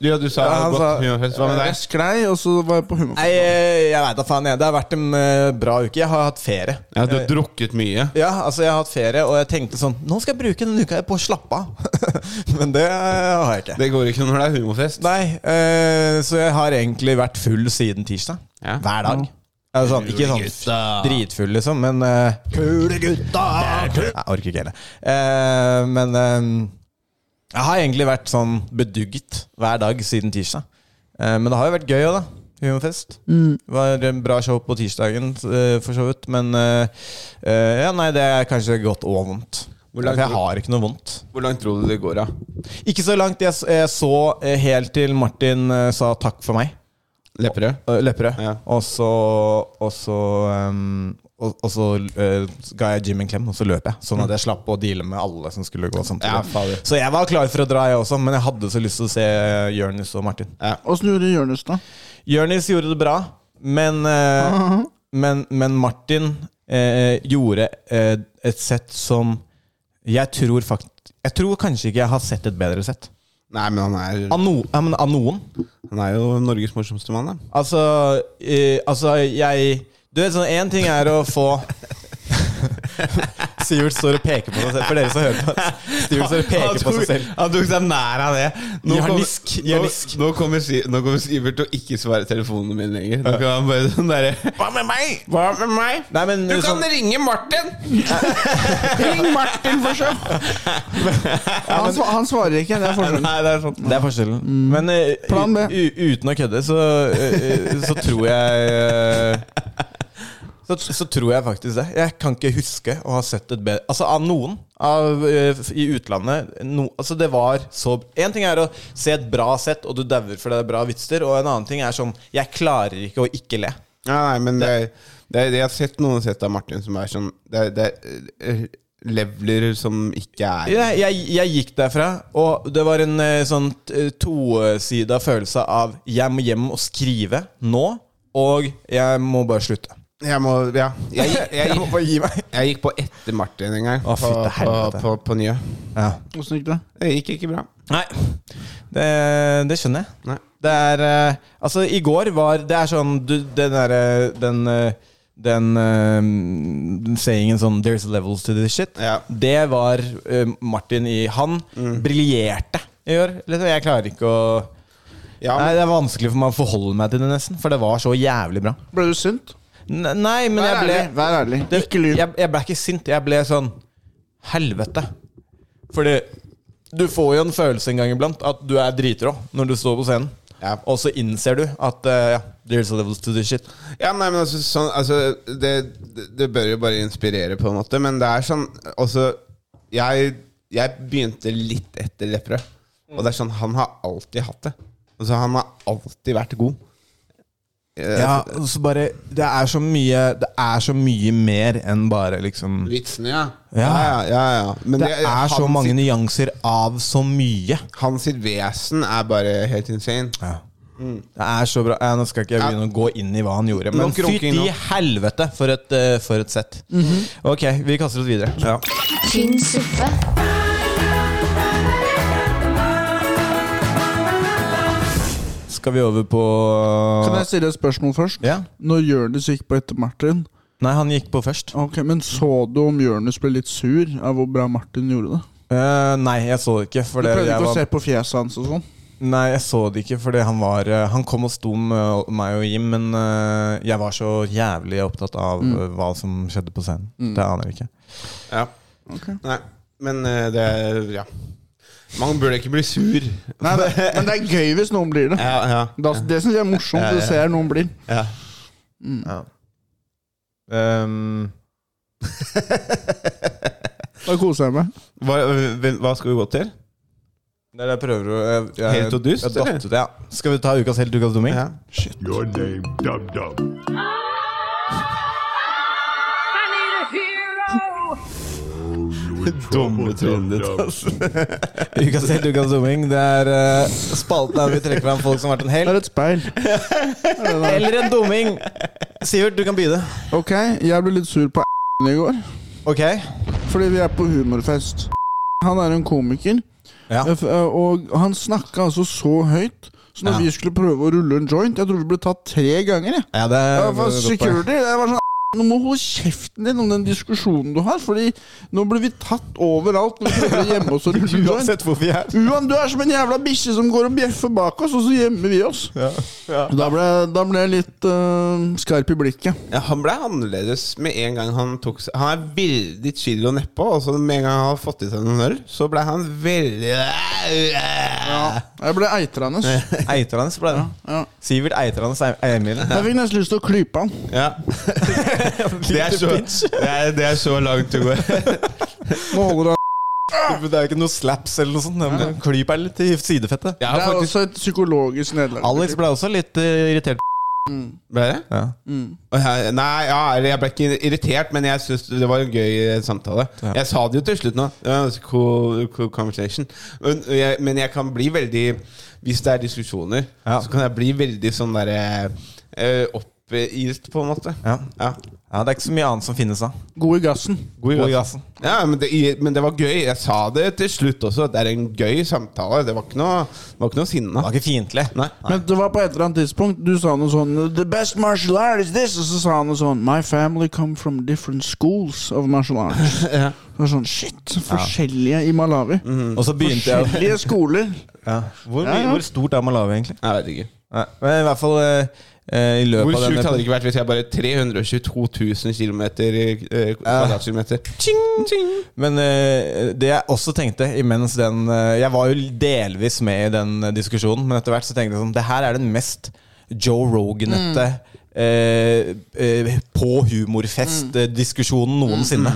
ja, du sa
Ja, han
godt
sa-
humorfest. Hva med
Jeg
deg?
sklei, og så var jeg på humor.
Nei, eh, jeg veit da faen. Jeg. Det har vært en eh, bra uke. Jeg har hatt ferie.
Ja, du har drukket mye.
Ja, altså jeg har hatt ferie, og jeg tenkte sånn Nå skal jeg bruke denne uka her på å slappe av. *laughs* Men det eh, har jeg ikke.
Det går ikke når det er humorfest.
Nei, eh, så jeg har egentlig vært full siden tirsdag.
Ja.
Hver dag. Altså, sånn, ikke sånn dritfull, liksom, men eh, Kule gutta! Jeg orker ikke hele. Eh, men eh, jeg har egentlig vært sånn bedugget hver dag siden tirsdag. Eh, men det har jo vært gøy òg, da. Humorfest. Det var en bra show på tirsdagen, eh, for så vidt. Men eh, eh, ja, nei, det er kanskje godt og vondt.
Hvor langt-
For jeg har ikke noe vondt.
Hvor langt tror du det går, da?
Ikke så langt. Jeg, s- jeg så eh, helt til Martin eh, sa takk for meg.
Lepperød?
eh, Lepperød.
Ja.
Og så Og så ehm, og, og så eh, ga jeg Jim en klem, og så løp jeg. Sånn at jeg slapp å deale med alle som skulle gå
Mm. Ja,
samtidig.
fader.
så jeg var klar for å dra, jeg også, men jeg hadde så lyst til å se eh, Jonis og Martin.
Åssen gjorde Jonis det?
Jonis gjorde det bra, men,
*laughs*
eh, men, men Martin eh, gjorde eh, et sett som jeg tror fakt Jeg tror kanskje ikke jeg har sett et bedre sett.
Nei, men han er,
Av, no, ja, men av noen.
han er jo Norges morsomste mann, da.
Altså, eh, altså jeg Du vet, sånn én ting er å få *laughs* Sivert står og peker på seg selv. For dere som hører på. Sivert står og peker på seg selv.
han tok seg nær av det. Nå kommer-
Janisk, janisk.
Nå, nå, kommer, Si- nå kommer Sivert til å ikke svare telefonene mine lenger. Nå kan han bare sånn derre Hva med meg? Hva med meg?
Nei, men,
du kan
sånn-
ringe Martin! *laughs* Ring Martin, for så
Han, sva- han svarer ikke. Det er forskjellen. Mm.
Nei, det er sånn.
Det er forskjellen. Men eh,
Plan B.
u, u, uten å kødde, så, eh, eh, så tror jeg eh, så, så tror jeg faktisk det. Jeg kan ikke huske å ha sett et bedre Altså av noen av, eh, f- i utlandet no, Altså det var så En ting er å se et bra sett, og du dauer fordi det er bra vitser, og en annen ting er sånn Jeg klarer ikke å ikke le.
Ja, nei, men det, er- det, er- jeg har sett noen sett av Martin som er sånn Det, er- det er eh, leveler som ikke er
Jeg, jeg, jeg gikk derfra, og det var en eh, sånn eh, tosida følelse av Jeg må hjem og skrive nå, og jeg må bare slutte.
Jeg må Ja. Jeg, jeg,
Jeg *laughs* må bare gi meg.
jeg gikk på etter Martin en gang,
Å,
på,
fytte
på,
helvete.
på, på Njø.
Åssen gikk det?
Det gikk ikke bra.
Nei, det, det skjønner jeg.
Nei.
Det er eh, Altså, i går var Det er sånn du, Den derre Den eh, den, eh, den sayingen sånn 'There's levels to this shit',
Ja. Mm.
det var eh, Martin i Han briljerte i år. Liksom, jeg klarer ikke å
Ja,
Nei, Det er vanskelig for meg å forholde meg til det, nesten. For det var så jævlig bra.
Ble du sint?
N nei, men
Vær
jeg ble
ærlig. Vær ærlig.
det,
Ikke lyv.
Jeg, jeg ble ikke sint. Jeg ble sånn Helvete. Fordi du får jo en følelse en gang iblant at du er dritrå når du står på scenen.
Ja.
Og så innser du at eh, ja, there's a levels to this shit.
Ja, nei, men altså, sånn, altså det, det, det bør jo bare inspirere, på en måte. Men det er sånn Altså, jeg, jeg begynte litt etter Lepperød. Og det er sånn, han har alltid hatt det. Altså, han har alltid vært god. Eh,
Ja, og så bare Det er så mye Det er så mye mer enn bare liksom
Vitsene, ja.
Ja.
Ja, ja, ja. ja. Men
Det er så
han
mange
sitt,
nyanser av så mye.
Han sitt vesen er bare helt insane.
Det er så bra. Ja, nå skal ikke jeg begynne å gå inn i hva han gjorde, men
Nok runking
fytti
nå.
helvete for et, eh, for et sett. Ok, vi kaster oss videre.
Tynn suppe.
Skal vi over på
Kan jeg stille et spørsmål først?
Ja.
Når Jonis gikk på etter Martin
Nei, han gikk på først.
Ok, Men så du om Jonis ble litt sur av hvor bra Martin gjorde det?
Eh, nei, jeg så det ikke.
Du
Fordi
prøvde
jeg
ikke å
var,
se på fjeset hans og sånn?
nei, jeg så det ikke fordi han var eh, Han kom og sto med meg og Jim, men eh, jeg var så jævlig opptatt av eh, hva som skjedde på scenen. Det aner jeg ikke.
Ja. Nei, men eh, det er Ja. Man burde ikke bli sur.
Nei, det, men det er gøy hvis noen blir det.
Ja, ja.
Da, det syns jeg er morsomt.
Ja, ja.
Du ser noen blir.
ja.
Ja. Ehm,
Da koser jeg meg.
Hva, hvem- hva skal vi gå til?
det er det jeg prøver å jeg, jeg,
Helt og dust,
jeg datt
eller?
ut, ja. Skal vi ta ukas helt, ukas dumming?
Ja.
Your name, Dum Dum.
Dumme trynet ditt,
*laughs* Ukas helt, ukas dumming. Det er eh, spalten der vi trekker fram folk som har vært en
Det
helt
er et speil.
eller en dumming. Sivert, du kan begynne.
Ok, jeg ble litt sur på *laughs* i går.
Ok.
Fordi vi er på humorfest. Han er en komiker,
Ja.
eh, f- eh, og han snakka altså så høyt. Så når
Ja.
vi skulle prøve å rulle en joint Jeg tror vi ble tatt tre ganger. Jeg.
Ja, det er
Jeg var security. Jeg var sånn nå må du holde kjeften din om den diskusjonen du har, Fordi nå blir vi tatt overalt. Når vi prøver hjemme oss og
*laughs*
rulle en joint
Uansett hvor vi er.
Uan, du er som en jævla bikkje som går og bjeffer bak oss, og så gjemmer vi oss.
*laughs*
Da, ble, da ble jeg litt eh, skarp i blikket.
Ja, han ble annerledes med en gang han tok seg Han er veldig chill og nedpå, og så med en gang han har fått i seg noen øl, så ble han veldig
Jeg ble eitrende. Ja.
Eitrane, så ble det. Sivert Eitrane Seim- Eimil.
Jeg fikk nesten lyst til å klype han.
Ja. Det er så, det er, det er så langt å gå.
Nå holder han.
Det er jo ikke noe slaps eller noe sånt. Men klyp er litt i sidefettet.
*laughs* Ja,
Det er
faktisk.
også et psykologisk nederlag.
Alex ble også litt eh, irritert.
Ble det?
Ja.
Å, ja, Nei, ja, eller jeg ble ikke irritert, men jeg syns det var en gøy eh, samtale.
Ja.
Jeg sa det jo til slutt nå. Det var en ganske Cool, cool conversation. Men jeg, men jeg kan bli veldig Hvis det er diskusjoner,
Ja.
så kan jeg bli veldig sånn derre eh, opp kjempeis, på en måte.
Ja.
Ja.
ja, Det er ikke så mye annet som finnes da. altså.
God i gassen.
God
God i
gassen.
gassen.
Ja, men det, i- men det var gøy. Jeg sa det til slutt også, at det er en gøy samtale. Det var ikke noe, det var ikke noe sinne.
Det var ikke fiendtlig.
Nei.
Men det var på et eller annet tidspunkt Du sa noe sånn The best martial art is this Og så sa han noe sånn My family come from different schools of martial arts
*laughs* Ja. Mhm.
Det var sånn Shit, forskjellige i Malawi
Mm. Og så begynte jeg å-
Forskjellige
*laughs*
skoler
ja. hvor, mye-
Ja, ja.
hvor stort er Malawi, egentlig?
Jeg vet ikke.
Nei, men i hvert fall eh, eh, i løpet
Hvor
av
sjukt
denne
hadde det ikke vært hvis jeg bare 322 000 kilometer, eh, kvadratkilometer
Men eh, det jeg også tenkte imens den eh, Jeg var jo delvis med i den eh, diskusjonen, men etter hvert så tenkte jeg sånn Det her er den mest Joe Rogan-ete eh, eh, på humorfest-diskusjonen noensinne.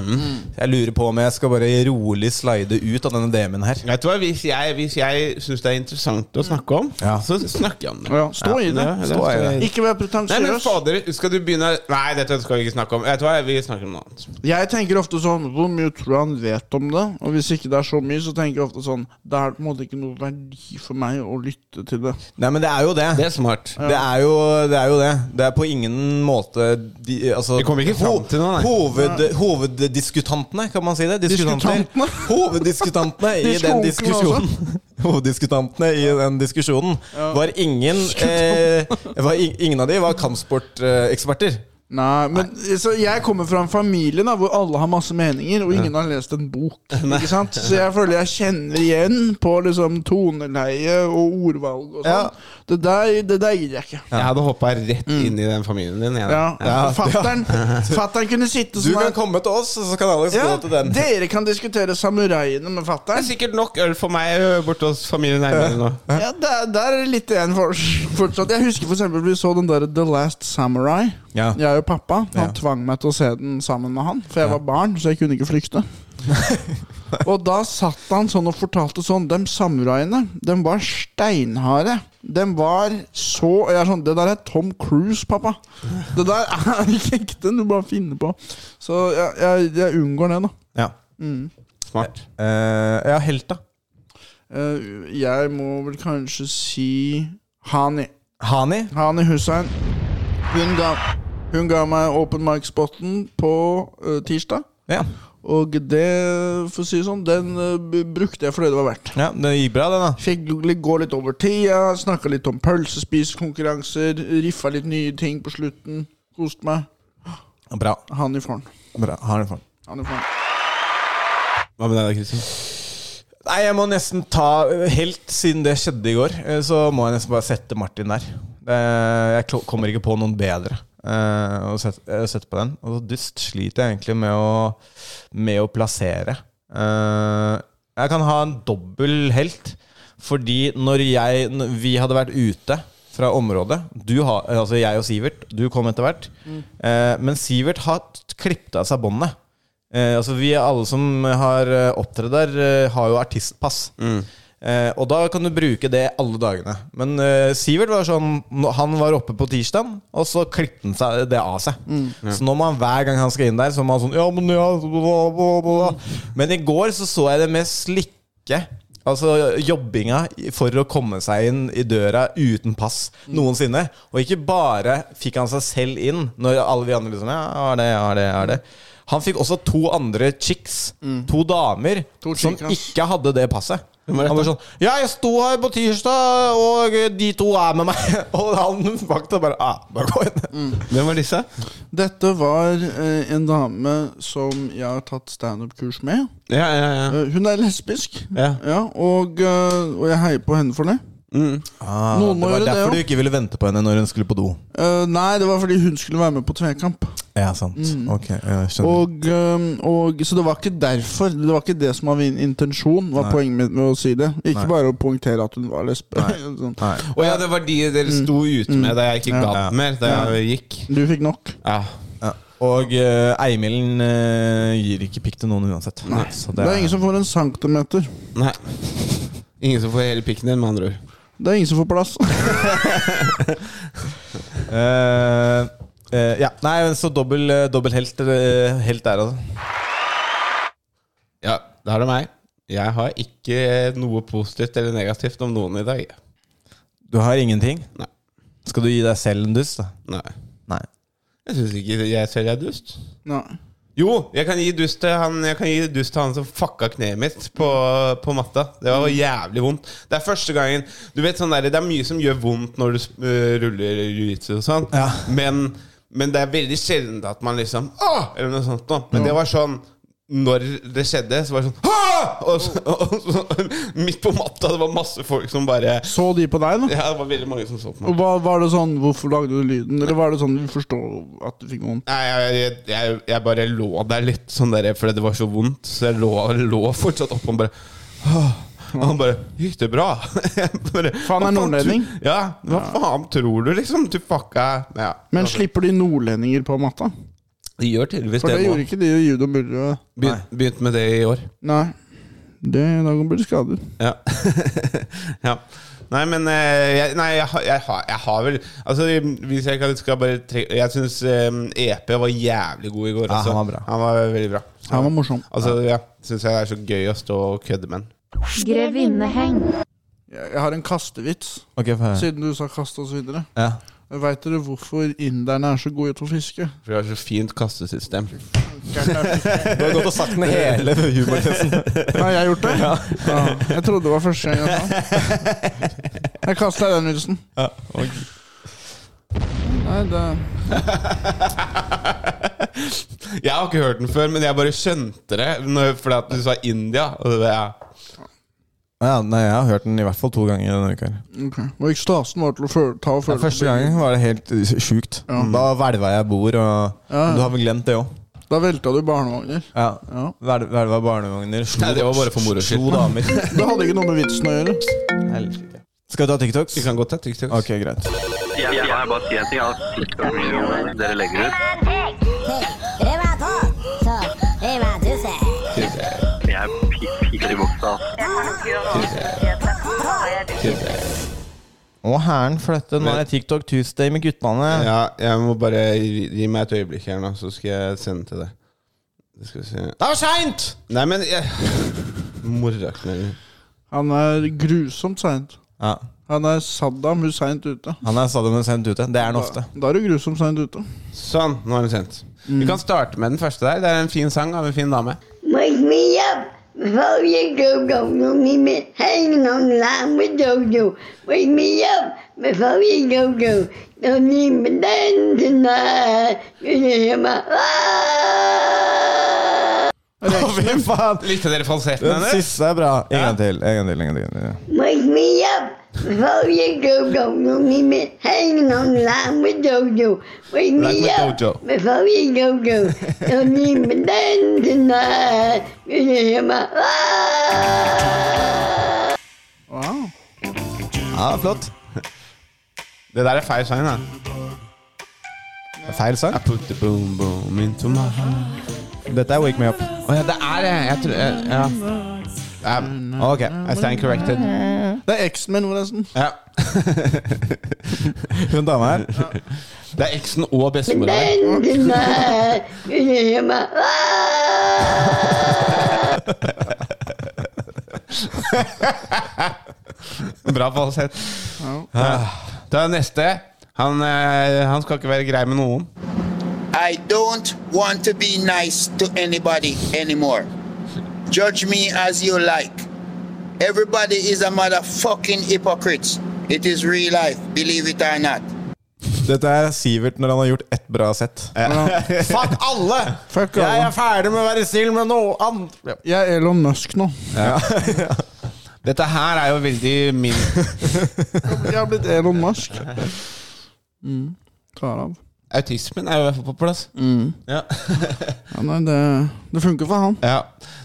Jeg lurer på om jeg skal bare rolig slide ut av denne DM-en her.
Vet du hva, Hvis jeg, hvis jeg syns det er interessant å snakke om,
Ja.
så snakker jeg om det.
ja, Stå i det
Ja, det
Stå i
skal jeg-
det.
Ikke vær
Nei, men
pretensiøs
fader, skal du begynne Nei, dette skal vi ikke snakke om. Vet du hva, Vi snakker om noe annet.
Jeg tenker ofte sånn Hvor mye tror han vet om det? Og hvis ikke det er så mye Så tenker jeg ofte sånn Det er på en måte ikke noe verdi for meg Å lytte til det
Nei, men det er jo det.
Det er smart.
Det er, jo, det er jo det. Det er på ingen måte de, altså,
Vi kommer ikke fram
ho-
til noe, nei.
Hoved, hoveddiskutantene, kan man si det? Diskutanter. *laughs*
Diskutantene?
Hoveddiskutantene i den
Diskonkene
diskusjonen *laughs* Hoveddiskutantene i den diskusjonen var ingen eh, var, ing- Ingen av de var kampsporteksperter.
Nei, men Så jeg kommer fra en familie da hvor alle har masse meninger, og ingen har lest en
*laughs*
bok. Ikke sant? Så jeg føler jeg kjenner igjen på liksom toneleie og ordvalg og
Ja.
sånn. Det, der, det der gidder jeg ikke.
Jeg hadde hoppa rett inn i den familien din. Jeg, da.
Ja.
Ja. *laughs*
Fattern fattern kunne sitte
Du kan
sånn her.
komme til oss, og så kan Alex
Ja,
gå til den.
dere kan diskutere samuraiene med
Det er
fattern.
sikkert nok øl for meg ø, borte hos familien nærmere nå.
Ja, der, der er det litt igjen for, fortsatt. Jeg husker for eksempel vi så den der The Last Samurai.
Ja.
Jeg og pappa. Han
Ja.
tvang meg til å se den sammen med han, for jeg var barn, så jeg kunne ikke
*laughs*
flykte. og da satt han sånn og fortalte sånn De samuraiene, de var steinharde. De var så og jeg er sånn, Det der er Tom Cruise, pappa. Det der er *laughs* ikke ekte, du bare finner på. Så jeg, jeg, jeg unngår det, da.
Ja.
Mm. Smart.
Eh, ja, helt, da.
Eh, Jeg må vel kanskje si Hani.
Hani.
Hani Hussein. Hun ga, hun ga meg open mic-spotten på eh, tirsdag.
Ja.
Og det, for å si det sånn, den eh, b- brukte jeg for det det var verdt.
ja, det gikk bra, det, da.
Fikk li- gå litt over tida, snakka litt om pølsespisekonkurranser, riffa litt nye ting på slutten. Koste meg.
Bra.
Han i for'n.
bra. Har den for den.
Han i for'n.
Hva med deg, da, Kristin?
Nei, jeg må nesten ta Helt siden det skjedde i går, eh, så må jeg nesten bare sette Martin der. Eh, Jeg klo- kommer ikke på noen bedre eh, å sette, eh, sette på den. Og så dust sliter jeg egentlig med å, med å plassere. Eh, Jeg kan ha en dobbel helt, fordi når jeg når Vi hadde vært ute fra området. Du har, eh, altså jeg og Sivert. Du kom etter hvert. Eh, Men Sivert har klippet av seg båndet. Eh, altså vi alle som har eh, opptredd der, eh, har jo artistpass. Eh, og da kan du bruke det alle dagene. Men eh, Sivert var sånn nå- Han var oppe på tirsdag, og så klippet han seg det av seg. Så nå må han hver gang han skal inn der, så må han sånn ja, men, ja, bla, bla, bla. men i går så så jeg det med slikke. Altså jobbinga for å komme seg inn i døra uten pass
Mm.
noensinne. Og ikke bare fikk han seg selv inn når alle vi andre liksom Ja, har det, har det, har det. Han fikk også to andre chicks,
Mm.
to damer,
To
som
chickas.
ikke hadde det passet. Han
var dette?
var sånn Ja, jeg sto her på tirsdag, og de to er med meg. *laughs* Og han vakta bare ah, bare gå inn.
Hvem var disse?
Dette var eh, en dame som jeg har tatt standup-kurs med.
Ja, ja, ja.
Eh, hun er lesbisk,
Ja.
og, eh, og jeg heier på henne for det.
Ah,
Noen må
det
gjøre
var
det, jo.
derfor du ikke ville vente på henne når hun skulle på do.
Eh, nei, det var fordi hun skulle være med på tvekamp.
Ja, sant.
Mm.
Ok, jeg skjønner.
Og, øhm, og, så det var ikke derfor. Det var ikke det som var min intensjon, var poenget mitt med å si det. Ikke
Nei.
bare å poengtere at hun var lesbe. *laughs* sånn.
Nei.
Å ja, det var de dere sto ute med da jeg ikke gadd
Ja.
mer, da jeg gikk.
Du fikk nok.
Ja.
Ja. Og uh, Eimilden eh, gir ikke pikk til noen uansett. Så
Det er ingen som får en centimeter.
Nei. Ingen som får hele pikken din, med andre ord.
Det er ingen som får
*laughs*
plass.
Eh, eh, Ja, nei, men så dobbel, eh, dobbel helt, eh, helt der, altså.
Ja, da er det meg. Jeg har ikke noe positivt eller negativt om noen i dag.
Du har ingenting?
Nei.
Skal du gi deg selv en dust, da?
Nei.
Nei.
Jeg syns ikke jeg selv er dust.
Nei.
Jo, jeg kan gi dust til han, jeg kan gi dust til han som fucka kneet mitt på, på matta. Det var jævlig vondt. Det er første gangen Du vet sånn der, Det er mye som gjør vondt når du eh, ruller jiu-jitsu og sånn,
Ja.
men, men det er veldig sjelden at man liksom Åh! Eller noe sånt noe. Men det var sånn når det skjedde, så var det sånn «Åh!» og så, *laughs* og så, Midt på matta, det var masse folk som bare
Så de på deg, da?
*laughs* Ja, det var veldig mange som så på
Og
meg.
hva, var det sånn 'Hvorfor lagde du lyden?' Eller var det sånn 'Vi forstår at du fikk vondt'?
Nei, jeg, jeg, jeg, jeg bare lå der litt, sånn der, fordi det var så vondt. Så jeg lå, lå fortsatt oppe og bare «Åh». Og han bare 'Gikk det bra?' *laughs* Jeg bare,
Faen, er
«Hva
nordlending?»
tro- Ja, hva faen tror du, liksom? Du fucka ja.
Men slipper de nordlendinger på matta?
De gjør tydeligvis
For
det
det
nå.
gjorde ikke de i judo burde
Begynt, begynt med det i år.
Nei. Det, da blir du skadet.
Ja. *laughs* ja. Nei, men eh, jeg, nei, jeg, har- jeg, har, jeg har vel Altså, hvis jeg kan skal bare tre, Jeg syns EP var jævlig god i går.
Ja,
altså.
han var bra.
Han var veldig bra. Så-
Han var morsom.
Altså, ja, Syns jeg det er så gøy å stå og kødde med den.
Grevinneheng.
Jeg, jeg har en kastevits,
Ok, få høre.
siden du sa kast og så videre.
Ja.
Veit dere hvorfor inderne er så gode til å fiske?
For vi har så fint *laughs* kastesystem.
Du har gått og sagt den hele *laughs* humortesten.
Har jeg gjort det? Ja. Jeg trodde det var første gang jeg sa den. *laughs* Jeg kasta den vitsen. Nei, det
*laughs* Jeg har ikke hørt den før, men jeg bare skjønte det når, fordi at du sa India. Og det var jeg.
Ja, nei, jeg har hørt den i hvert fall to ganger denne uka. her.
ok. Og ekstasen var til å føle, ta og
Ja,
føle på
første
begge.
gangen var det helt eh, sjukt. Da hvelva jeg bord, og
Ja.
du har vel glemt det òg?
Da velta du barnevogner.
Ja.
Ja.
Hvel- Hvelva barnevogner, slo,
Nei, det var bare for moro skyld.
slo *laughs* damer.
Det hadde ikke noe med vitsen å gjøre.
Skal vi ta TikToks?
Vi kan godt ta TikTok.
Ok, greit.
Jeg, jeg, jeg bare sier en ting. Jeg har TikTok-videoene dere legger ut. Jeg er pi- piker i altså. buksa.
Og herren flytte. Nå er det TikTok Tuesday med guttene.
Ja, jeg må bare gi, gi meg et øyeblikk her nå, så skal jeg sende til deg. Det skal vi se Det var seint! Nei, men jeg... *laughs* Morrakner.
Han er grusomt seint.
Ja.
Han er Saddam Hussein ute.
Han er Saddam Hussein ute. Det er han ofte.
Da er du grusomt seint ute.
Sånn, nå er den sendt. Vi kan starte med den første der. Det er en fin sang av en fin dame.
Wake me up before you go go. Don't leave me hanging on the line with Dodo. Wake me up before you go go. Don't leave me down tonight. You can hear my ah!
*laughs* Fy faen!
Likte dere falsetten
Den
hennes?
siste er bra. En gang til. En gang til. En gang til.
Wake me up before you go go. Don't leave me hanging on the line with Dodo.
Like
Wake me
with
up
Dodo.
before you go go. Don't leave me down tonight. You can hear my ah!
Wow.
Ja, flott.
Det der er feil sang, da.
Feil sang.
I put the boom boom into my heart.
Dette er Wake Me Up.
Å ja, det er det! Jeg tror jeg, Ja. Um,
Ok.
I stand corrected.
Det er X-Men, forresten.
Ja.
Hun dama her.
Det er eksen og
But
bestemora der.
then tonight, you can hear my ah!
Bra falsett. Ja. Da er neste. Han, eh, han skal ikke være grei med noen.
I don't want to be nice to anybody anymore. Judge me as you like. Everybody is a motherfucking hypocrite. It is real life, believe it or not.
Dette er Sivert når han har gjort ett bra sett. *laughs* Fuck alle!
Fuck
Jeg
alle.
er ferdig med å være snill med noe andre.
Jeg er Elon Musk nå.
Dette her er jo veldig min
Jeg har blitt Elon *laughs* Musk. Mm. Tar av.
Autismen er jo i hvert fall på plass.
Mm.
Ja.
Ja, nei, det, det funker for han.
ja.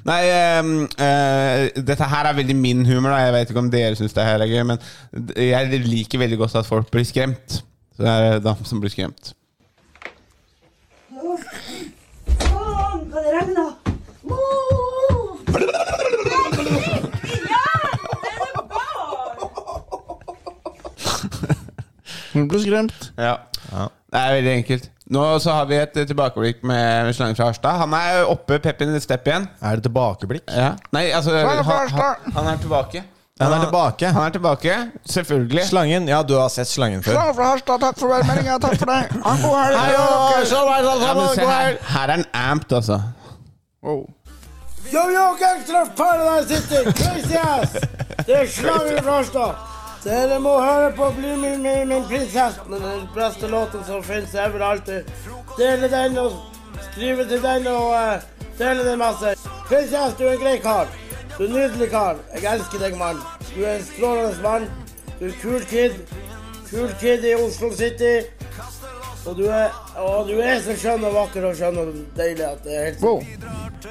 Nei, ehm, eh, dette her er veldig min humor. Da. Jeg vet ikke om dere syns det her er gøy, men d- jeg liker veldig godt at folk blir skremt. Så det er eh, dam som blir skremt.
Hun ble skremt.
Ja. Det er veldig enkelt. Nå så har vi et eh, tilbakeblikk med Slangen fra Harstad. Han er oppe Peppin Stepp igjen.
Er det tilbakeblikk?
Ja. Nei, altså
fra
han,
Harstad!
han, han er tilbake.
Han er tilbake.
Han er tilbake, selvfølgelig.
Slangen. Ja, du har sett slangen før.
Klar for Harstad, takk for værmeldinga, takk for deg. Ha en god helg.
Hei, og-
Så veit alle
Ja, men
sammen,
se
god
her,
helg.
her er han amped, altså.
Wow.
Yo, yo, gangstraff Paradise City, crazy ass! Det er slanger fra Harstad. Dere må høre på Bli min, min, min prinsesse, men den beste låten som finnes overalt. Dele den og skrive til den og eh, dele den masse. Prinsesse, du er en grei kar. Du er en nydelig kar. Jeg elsker deg, mann. Du er en strålende mann. Du er en kul kid. Kul kid i Oslo City. Og du er, og du er så skjønn og vakker og skjønn og deilig at det er helt
Wow.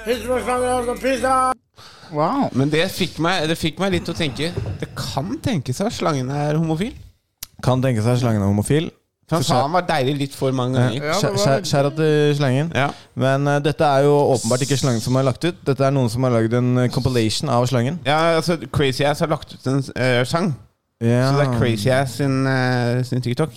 Hilsen fra Slanger Harstad, peace out!
wow.
Men det fikk, meg, det fikk meg litt til å tenke Det kan tenkes at slangen er homofil.
Kan tenke seg slangen er homofil.
For han
Så-
sa han var deilig litt for mange ganger.
Ja, det var-
Skjæra til eh, slangen.
Ja.
Men eh, dette er jo åpenbart ikke slangen som har lagt ut. Dette er noen som har lagd en eh, compilation av slangen.
Ja, altså Crazy Ass har lagt ut en eh, sang.
Ja,
Så det er Crazy Ass sin, eh, sin TikTok.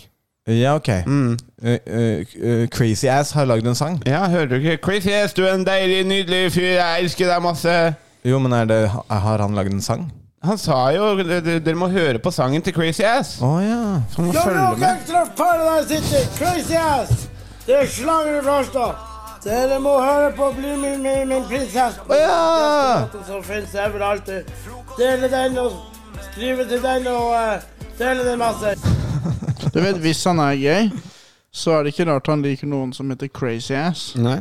Ja, ok. Eh, eh, eh, crazy Ass har lagd en sang.
Ja, hører du ikke? Crazy Ass, du er en deilig, nydelig fyr. Jeg elsker deg masse.
Jo, men er det, har han lagd en sang?
Han sa jo d- d- Dere må høre på sangen til Crazy Ass.
Å ja.
Så må
Yo, yo,
følge med.
gangstraff Paradise City, crazy ass! Det er slanger i Harstad. Dere må høre på Bli min, min, min prinsesse.
Å ja!
Den som finnes overalt. Dele den og skrive til den og eh, dele den masse.
Du vet, hvis han er gay, så er det ikke rart han liker noen som heter Crazy Ass.
Nei.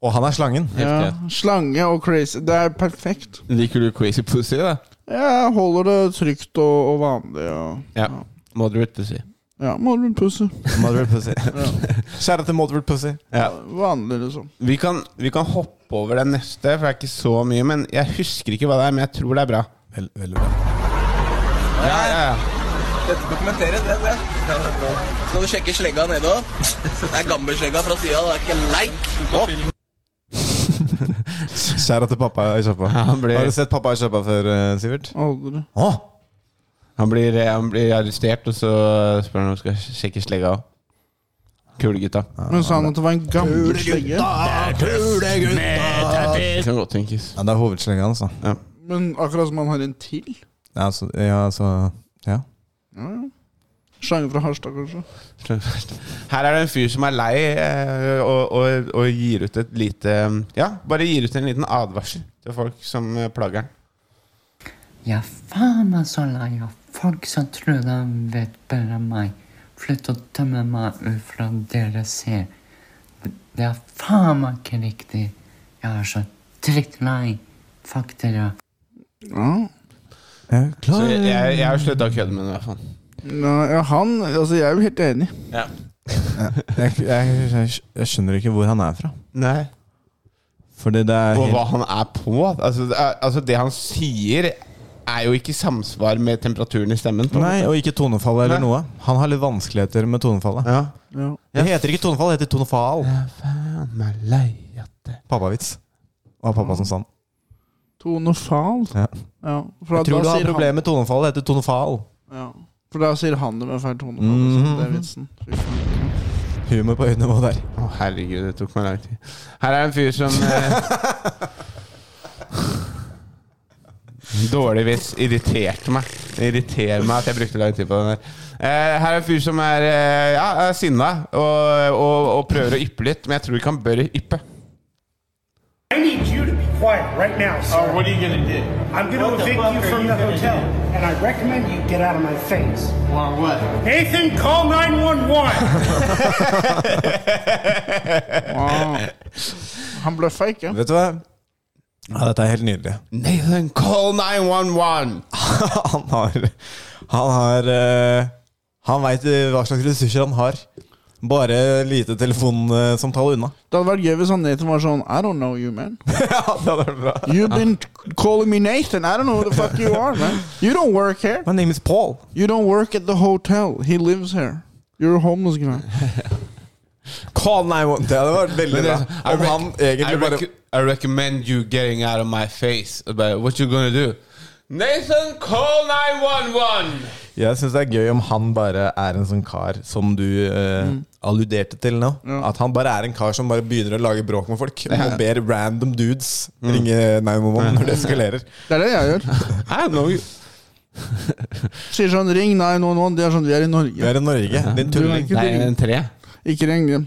Og han er slangen.
Ja,
greit.
slange og crazy. Det er perfekt.
Liker du Crazy Pussy, da?
Jeg holder det trygt og, og vanlig. Og,
Ja. Moderate Pussy.
ja, må du en pusse.
Motherwell Pussy. Skjæra til Motherwell Pussy.
Vanlig, liksom.
*laughs* Vi kan, vi kan hoppe over den neste, for det er ikke så mye. Men jeg husker ikke hva det er, men jeg tror det er bra.
Vel, veldig bra.
Ja, ja, ja.
Dette dokumenterer det, det. Skal du sjekke slegga nede òg? Det er gammelslegga fra sida, det er ikke leik.
Skjæra til pappa i sjappa.
Ja, han blir-
Har du sett pappa i sjappa før, eh, Sivert?
Aldri.
Åh
Han blir, eh, han blir arrestert, og så spør han om han skal sjekke slegga òg. Kule gutta.
Men sa han at det var en gammel slegge?
Ah. Det kan godt tenkes.
Ja, det er hovedslenga hans, da.
Men akkurat som han har en til?
Ja, så, ja, så, ja.
Slange fra Harstad, kanskje?
Her er det en fyr som er lei eh, og, og, og gir ut et lite Ja, bare gir ut en liten advarsel til folk som eh, plager han.
Ja, faen meg så lei av folk som tror de vet bedre enn meg. Flytt og tømme meg ut fra dere ser. Det er faen meg ikke riktig. Jeg er så drittlei. Fuck dere.
Ja.
Jeg er
Så
klar.
jeg, jeg, jeg har slutta å kødde med ham, i hvert fall.
Nei, ja, han Altså, jeg er jo helt enig.
Jeg, jeg, jeg, jeg skjønner ikke hvor han er fra.
Nei.
Fordi det er
Og hva
helt,
han er på. Altså det, er, altså, det han sier, er jo ikke i samsvar med temperaturen i stemmen. på en
Nei, og ikke tonefallet eller
Nei.
noe. Han har litt vanskeligheter med tonefallet.
måte. Ja.
Ja.
Det heter ikke tonefall, det heter tonefal.
Faen meg lei at det
Pappavits. Det var pappa som sa den.
Tone Fahl.
Ja.
Ja. For
Jeg tror du
da
har
sier han
problemer med tonefall, det heter tonefal.
ja. For da sier han det med feil tone. Mm. Det er vitsen. Fy faen.
Humor på høyt nivå der.
Å, herregud, det tok meg lang tid. Her er en fyr som eh, *laughs* Dårlig vits. Irriterte meg. Det irriterer meg at jeg brukte lang tid på den der. Eh, her er en fyr som er eh, ja, er sinna og, og, og prøver å yppe litt, men jeg tror ikke han bør yppe.
I need you to be quiet right now. Sir.
Oh, what are you gonna do?
I'm going to evict you from the hotel, and I recommend you get out of my face.
Or what?
Nathan, call 911.
Wow. Ah. Han ble fake, ja.
Vet du hva? Ja, dette er helt nydelig.
Nathan, call 911!
*laughs* Han har Han har eh, Han veit hva slags ressurser han har. Bare lite telefonsamtale unna. *laughs*
Det hadde vært gøy hvis han Nathan var sånn I don't know you, man.
ja, det hadde vært bra.
You've been calling me Nathan. I don't know who the fuck you are, man. You don't work here.
My name is Paul.
You don't work at the hotel. He lives here. You're a homeless guy.
Call 911. Det hadde vært veldig
Men det
bra.
er sånn, I
Om han
rec- I,
egentlig bare
rec I recommend you getting out of my face. But what you gonna do? Nathan, call 911!
Jeg syns det er gøy om han bare er en sånn kar som du eh, alluderte til nå. At han bare er en kar som bare begynner å lage bråk med folk. Og ber Mm. random dudes ringe 911 når det eskalerer.
Det er det jeg gjør.
I don't know you.
Sier sånn 'ring 911'. Det er sånn 'vi er i Norge'.
Vi er i Norge. Din
Du kan
tulling.
ikke ringe.
tre.
Ikke ring dem.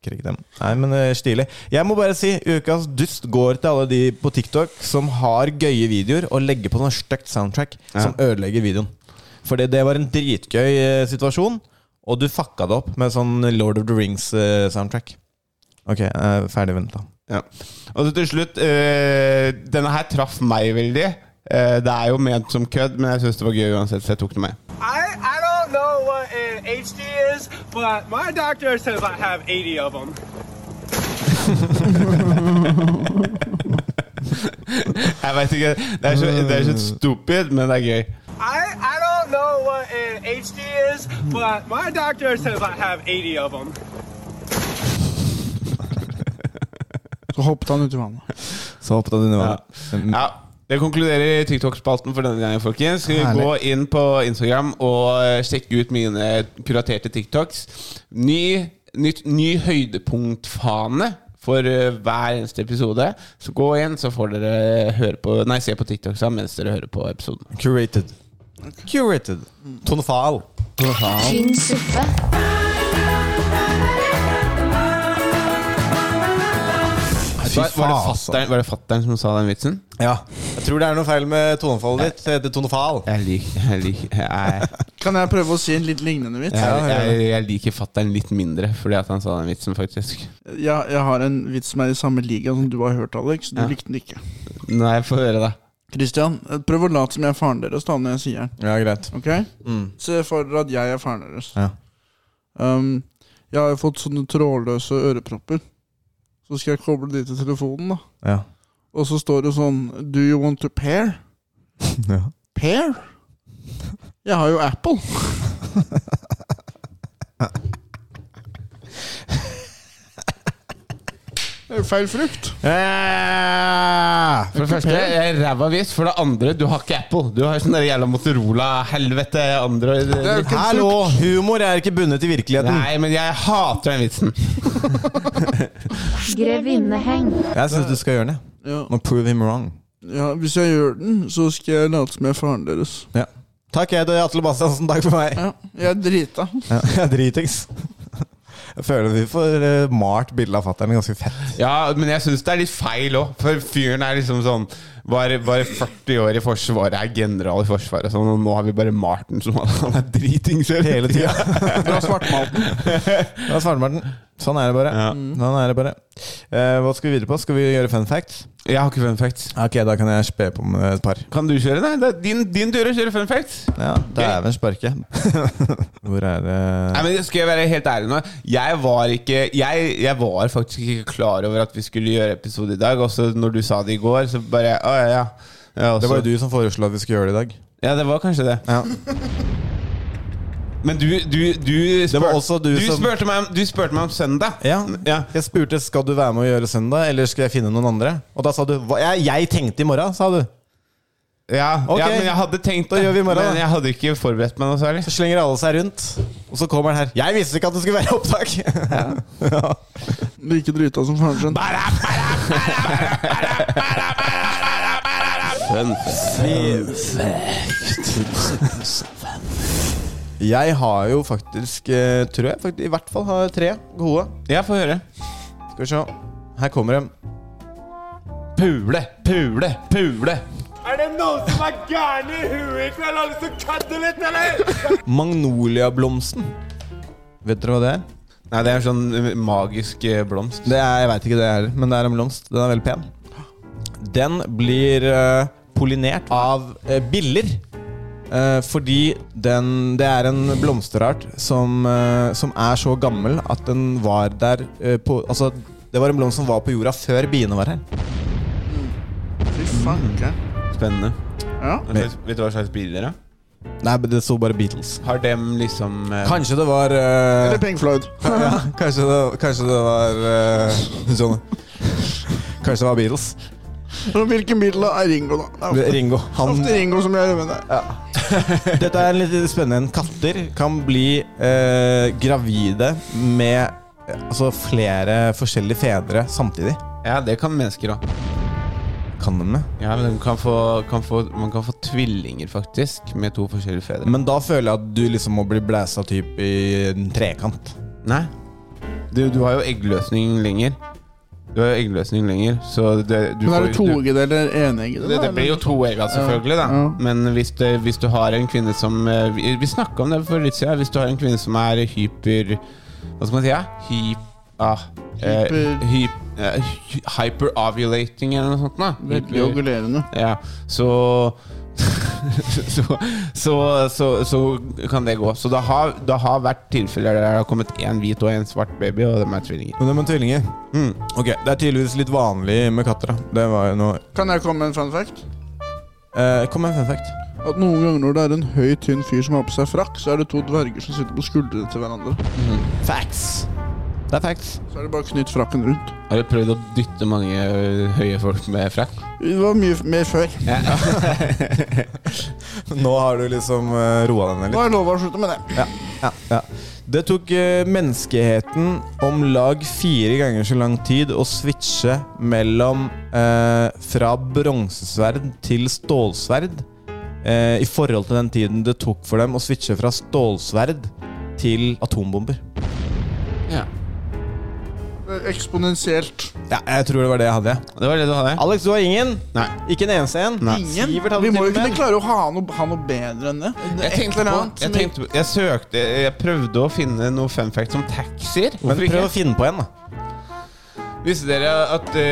Ikke riktig. Nei, men eh, stilig. Jeg må bare si ukas dust går til alle de på TikTok som har gøye videoer og legger på sånn stygt soundtrack som ødelegger videoen. Fordi det var en dritgøy eh, situasjon, og du fucka det opp med sånn Lord of the Rings-soundtrack. ok, jeg er ferdig venta.
Ja. Og så til slutt eh, Denne her traff meg veldig. Eh, det er jo ment som kødd, men jeg syns det var gøy uansett, så jeg tok det med. *laughs*
I, I don't know what an HD is, but my doctor says I have 80 of them.
Jeg vet ikke, Det er så, det er så stupid, men det er gøy.
I, I don't know what an HD is, but my doctor says I have 80 of them.
Så hoppet han uti vannet.
Så håpet jeg du nå Mm.
Ja, Det konkluderer TikTok-spalten for denne gangen, folkens. Skal vi
Herlig.
gå inn på Instagram og eh, sjekke ut mine kuraterte TikToks? Ny, nytt, ny høydepunktfane for eh, hver eneste episode. Så gå inn, så får dere høre på Nei, se på TikToksa mens dere hører på episoden.
Mm, Curated. Curated. Tonfal.
Tynn suppe.
Var, var det fatteren- var det fattern som sa den vitsen?
Ja. Jeg tror det er noe feil med tonefallet ditt. Det heter tonefal.
Jeg liker Jeg liker, *laughs* jeg,
Kan jeg prøve å si en litt lignende vits?
jeg, jeg, jeg liker fattern litt mindre fordi at han sa den vitsen, faktisk.
Jeg, jeg har en vits som er i samme liga som du har hørt, Alex. Du
Ja.
likte den ikke.
Nei, få høre, da.
Christian, prøv å late som jeg er faren deres da når jeg sier den.
Ja, greit. Mm.
Ok? Se for dere at jeg er faren deres.
Ja.
Um, jeg har jo fått sånne trådløse ørepropper. Så skal jeg koble de til telefonen, da.
Ja.
Og så står det sånn Do you want to pair?
*laughs* ja.
Pair? Jeg har jo
*laughs*
Apple. Det er jo feil frukt.
Eh,
For det første, jeg er ræva vits. For det andre, du har ikke Apple. Du har sånn der jævla Motorola-helvete. Android
Det er jo ikke en
Hallo!
frukt.
Humor er ikke bundet til virkeligheten.
Nei, men jeg hater den vitsen.
Grevinneheng.
Jeg syns du skal gjøre det.
Ja.
Må prove him wrong.
ja, Hvis jeg gjør den, så skal jeg late som jeg er faren deres.
Ja. Takk, jeg heter Atle Bastiansen. Takk for meg.
Ja, Jeg er drita.
Ja. Jeg er dritings. Jeg føler vi får eh, malt bildet av fatter'n ganske fett.
Ja, men jeg syns det er litt feil òg. For fyren er liksom sånn var, var 40 år i Forsvaret, er general i Forsvaret og sånn, og nå har vi bare Martin som han er dritings
Hele tida.
Bra svartmalt.
Ja, Svartemarten. Sånn er det bare.
Ja.
Sånn er det bare. Eh, hva skal vi videre på? Skal vi gjøre fun facts?
Jeg har ikke fun facts.
Ok, da kan jeg spe på med et par.
Kan du kjøre? Nei, det er din, din tur å kjøre fun facts.
Ja, Dæven sparke. *laughs* Hvor er det
Nei, men Skal jeg være helt ærlig nå? Jeg var, ikke, jeg, jeg var faktisk ikke klar over at vi skulle gjøre episode i dag. Også når du sa det i går, så bare Å ja, ja. ja.
Det var jo du som foreslo at vi skulle gjøre det i dag.
Ja, det var kanskje det.
Ja.
Men du, du, du spør-
var også du som-
spurte meg, om- du spurte meg om søndag.
Ja. Jeg spurte skal du være med å gjøre søndag, eller skal jeg finne noen andre. Og da sa du hva, jeg, jeg tenkte i morgen, sa du.
Ja,
Ok.
ja, men jeg hadde tenkt
Da gjør vi i morgen, da.
Men jeg hadde ikke forberedt meg noe særlig.
Så slenger alle seg rundt, og så kommer han her. Jeg visste ikke at det skulle være opptak! *laughs* Ja.
Like drita som faren sin.
Jeg har jo faktisk, eh, tror jeg, faktisk, i hvert fall har tre gode.
Ja, få høre.
Skal vi se. Her kommer de.
Pule, pule, pule.
Er det noen som er gærne i huet i kveld? Har lyst til å kødde litt, eller?
Magnoliablomsten. Vet dere hva det er?
Nei, det er en sånn magisk eh, blomst.
Det er, jeg veit ikke det heller, men det er en blomst. Den er veldig pen. Den blir eh, pollinert av eh, biller. eh, fordi den, det er en blomsterart som, eh, som er så gammel at den var der eh, på Altså, det var en blomst som var på jorda før biene var her.
Fy fanken.
Spennende.
Ja.
Vet, vet du hva slags biler det er?
Nei, men det sto bare Beatles.
Har dem liksom eh,
Kanskje det var eh,
Eller Pink Floyd. *laughs*
*laughs* ja, kanskje, det, kanskje det var eh, sånn Kanskje det var Beatles.
Og Hvilken bil er Ringo, da? Det er ofte-
Ringo. Han,
ofte Ringo som gjør det.
Dette er litt spennende. Katter kan bli eh, gravide med eh, altså, flere forskjellige fedre samtidig.
Ja, det kan mennesker òg.
kan den med.
Ja, men den kan få, kan få, Man kan få tvillinger, faktisk, med to forskjellige fedre.
Men da føler jeg at du liksom må bli blæsa typ i en trekant.
Nei. Du, du har jo eggløsning lenger. Du har jo eggløsning lenger, så det, du
Men er det
får- du-
toeggede eller eneggede?
det,
da,
det blir jo
eller?
toegga, selvfølgelig. da
Ja.
Men hvis, det, hvis du har en kvinne som eh, Vi, vi snakka om det for litt siden. Hvis du har en kvinne som er hyper Hva skal man si? Ja? Hyp, ah, eh,
Hyper-
hyp, eh, hy- hyperovulating eller noe sånt. da
Veldig
Hyper-
regulerende.
ja, så *laughs* så, så, så, så kan det gå. Så det har, det har vært tilfeller der det har kommet én hvit og én svart baby, og de er tvillinger.
Men det med tvillinger Ok, Det er tydeligvis litt vanlig med katter. da Det var jo noe
Kan jeg komme med en fun fact?
eh, Kom med en fun fact.
At Noen ganger når det er en høy, tynn fyr som har på seg frakk, så er det to dverger som sitter på skuldrene til hverandre.
Facts. Det er facts.
Så er det bare å knytte frakken rundt.
Har du prøvd å dytte mange ø, høye folk med frakk?
Det var mye f- mer før.
*laughs* Nå har du liksom eh, roa deg ned litt.
Nå har jeg lova å slutte med det.
Ja, ja, ja. Det tok eh, menneskeheten om lag fire ganger så lang tid å switche mellom eh, fra bronsesverd til stålsverd eh, i forhold til den tiden det tok for dem å switche fra stålsverd til atombomber.
Ja.
Det er Eksponentielt.
Ja, jeg tror det var det jeg hadde. jeg.
Det var det du hadde?
Alex, du har ingen.
Nei.
Ikke en eneste en.
Ingen?
Sivert hadde
Vi må jo
til og med
kunne
en.
klare å ha noe, ha noe bedre enn det.
Jeg
Et
tenkte,
eller
på,
annet som
jeg,
vi-
tenkte på, jeg søkte Jeg prøvde å finne noe fun fact om taxier.
Men prøv å finne på en, da.
Visste dere at ø,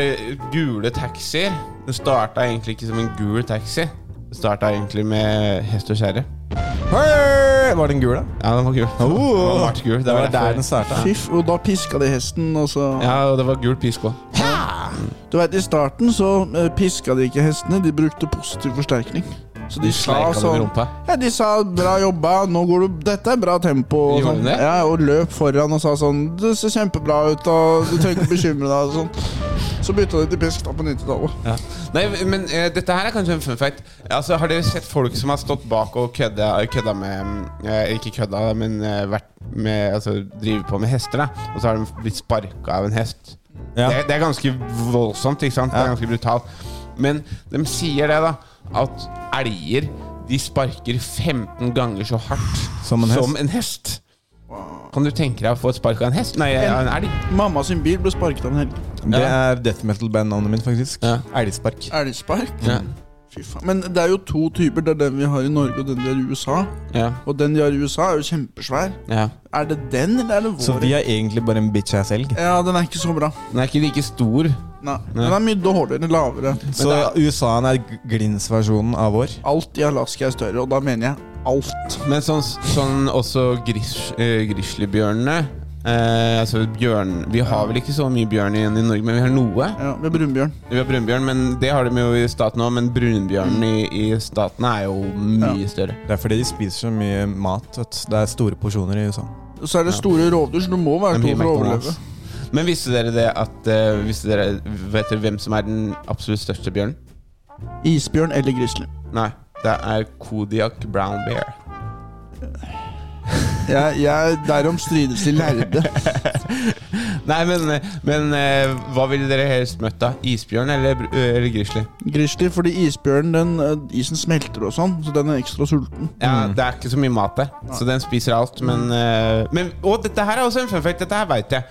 gule taxier Det starta egentlig ikke som en gul taxi. Det starta egentlig med hest og kjerre.
Hei! Var den gul, da?
Ja, den var gul. Den Oh. var mørkt gul.
Det var der den
starta.
starta.
Fiff, og da piska de hesten, altså. og så
Ja, og det var gul pisk òg.
Du vet, I starten så eh, piska de ikke hestene, de brukte positiv forsterkning. Så de,
De
sa
sleika dem i
sånn
rumpa.
Ja, de sa 'bra jobba, nå går du Dette er bra tempo'. Og,
Gjorde
sånn.
de det?
ja, og løp foran og sa sånn 'Du ser kjempebra ut, og du trenger ikke bekymre deg', og sånn. Så bytta de til pisk da på 90-tallet.
Ja. Nei, men eh, dette her er kanskje en fun fact. Altså, har dere sett folk som har stått bak og kødda, kødda med mm, eh, Ikke kødda, men eh, vært med Altså driver på med hester, da. Og så har de blitt sparka av en hest.
Ja.
Det, det er ganske voldsomt, ikke sant? Det er
Ja.
ganske brutalt. Men de sier det, da, at elger de sparker 15 ganger så hardt
Som en hest.
hest. Kan du tenke deg å få et spark av en hest? Nei, av en elg.
Mamma sin bil ble sparket av en helg.
Det er death metal-bandnavnet mitt, faktisk.
Ja.
Elgspark.
Elgspark. Fy faen. Men det er jo to typer. Det er den vi har i Norge, og den de har i USA.
Ja.
Og den de har i USA, er jo kjempesvær.
ja.
Er det den, eller er det vår?
Så vi er egentlig bare en bitch ass elg.
Ja, den er ikke så bra.
Den er ikke like stor.
Nei. Den er mye dårligere, lavere.
Så USA-en er g- glins-versjonen av vår.
Alt i Alaska er større, og da mener jeg alt.
Men sånn, sånn også gris, eh, grizzlybjørnene eh, Altså bjørn Vi har vel ikke så mye bjørn igjen i Norge, men vi har noe.
Ja, Med brunbjørn.
Vi har brunbjørn, men det har de jo i staten òg. Men brunbjørnen i, i statene er jo mye større.
Det er fordi de spiser så mye mat. Vet. du. Det er store porsjoner i USA.
Så er det store rovdyr, så du må være
Det
stor
blir
for å
McDonald's.
overleve.
Men visste dere det at eh, visste dere, Vet dere hvem som er den absolutt største bjørnen?
Isbjørn eller grizzly.
Nei, det er Kodiak Brown Bear.
Jeg, jeg, derom strides de lærde.
Nei, men, men eh, hva ville dere helst møtt, da? Isbjørn eller, br- eller grizzly?
Grizzly fordi isbjørnen, den, eh, isen smelter og sånn, så den er ekstra sulten.
Ja,
Mm.
Det er ikke så mye mat der, så den spiser alt. Men, eh, men Og dette her er også en fun fact. Dette her veit jeg.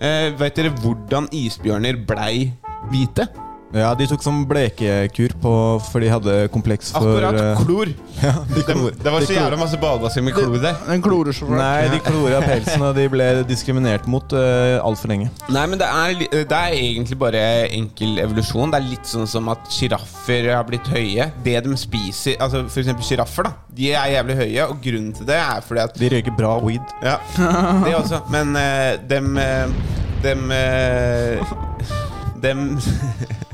Uh, veit dere hvordan isbjørner blei hvite?
Ja, de tok sånn blekekur på For de hadde kompleks for
Akkurat
eh, *laughs*
klor.
de
Det, *laughs*
klor.
det var
De
så jævla masse badebasseng med klor der.
Den klorer så fælt.
Nei, de klora pelsen, og de ble diskriminert mot uh, altfor lenge.
Nei, men det er, li- det er egentlig bare enkel evolusjon. Det er litt sånn som at sjiraffer har blitt høye. Det de spiser Altså for eksempel sjiraffer, da. De er jævlig høye, og grunnen til det er fordi at
De røyker bra weed.
Ja, det også. Men eh, dem eh, Dem eh, Dem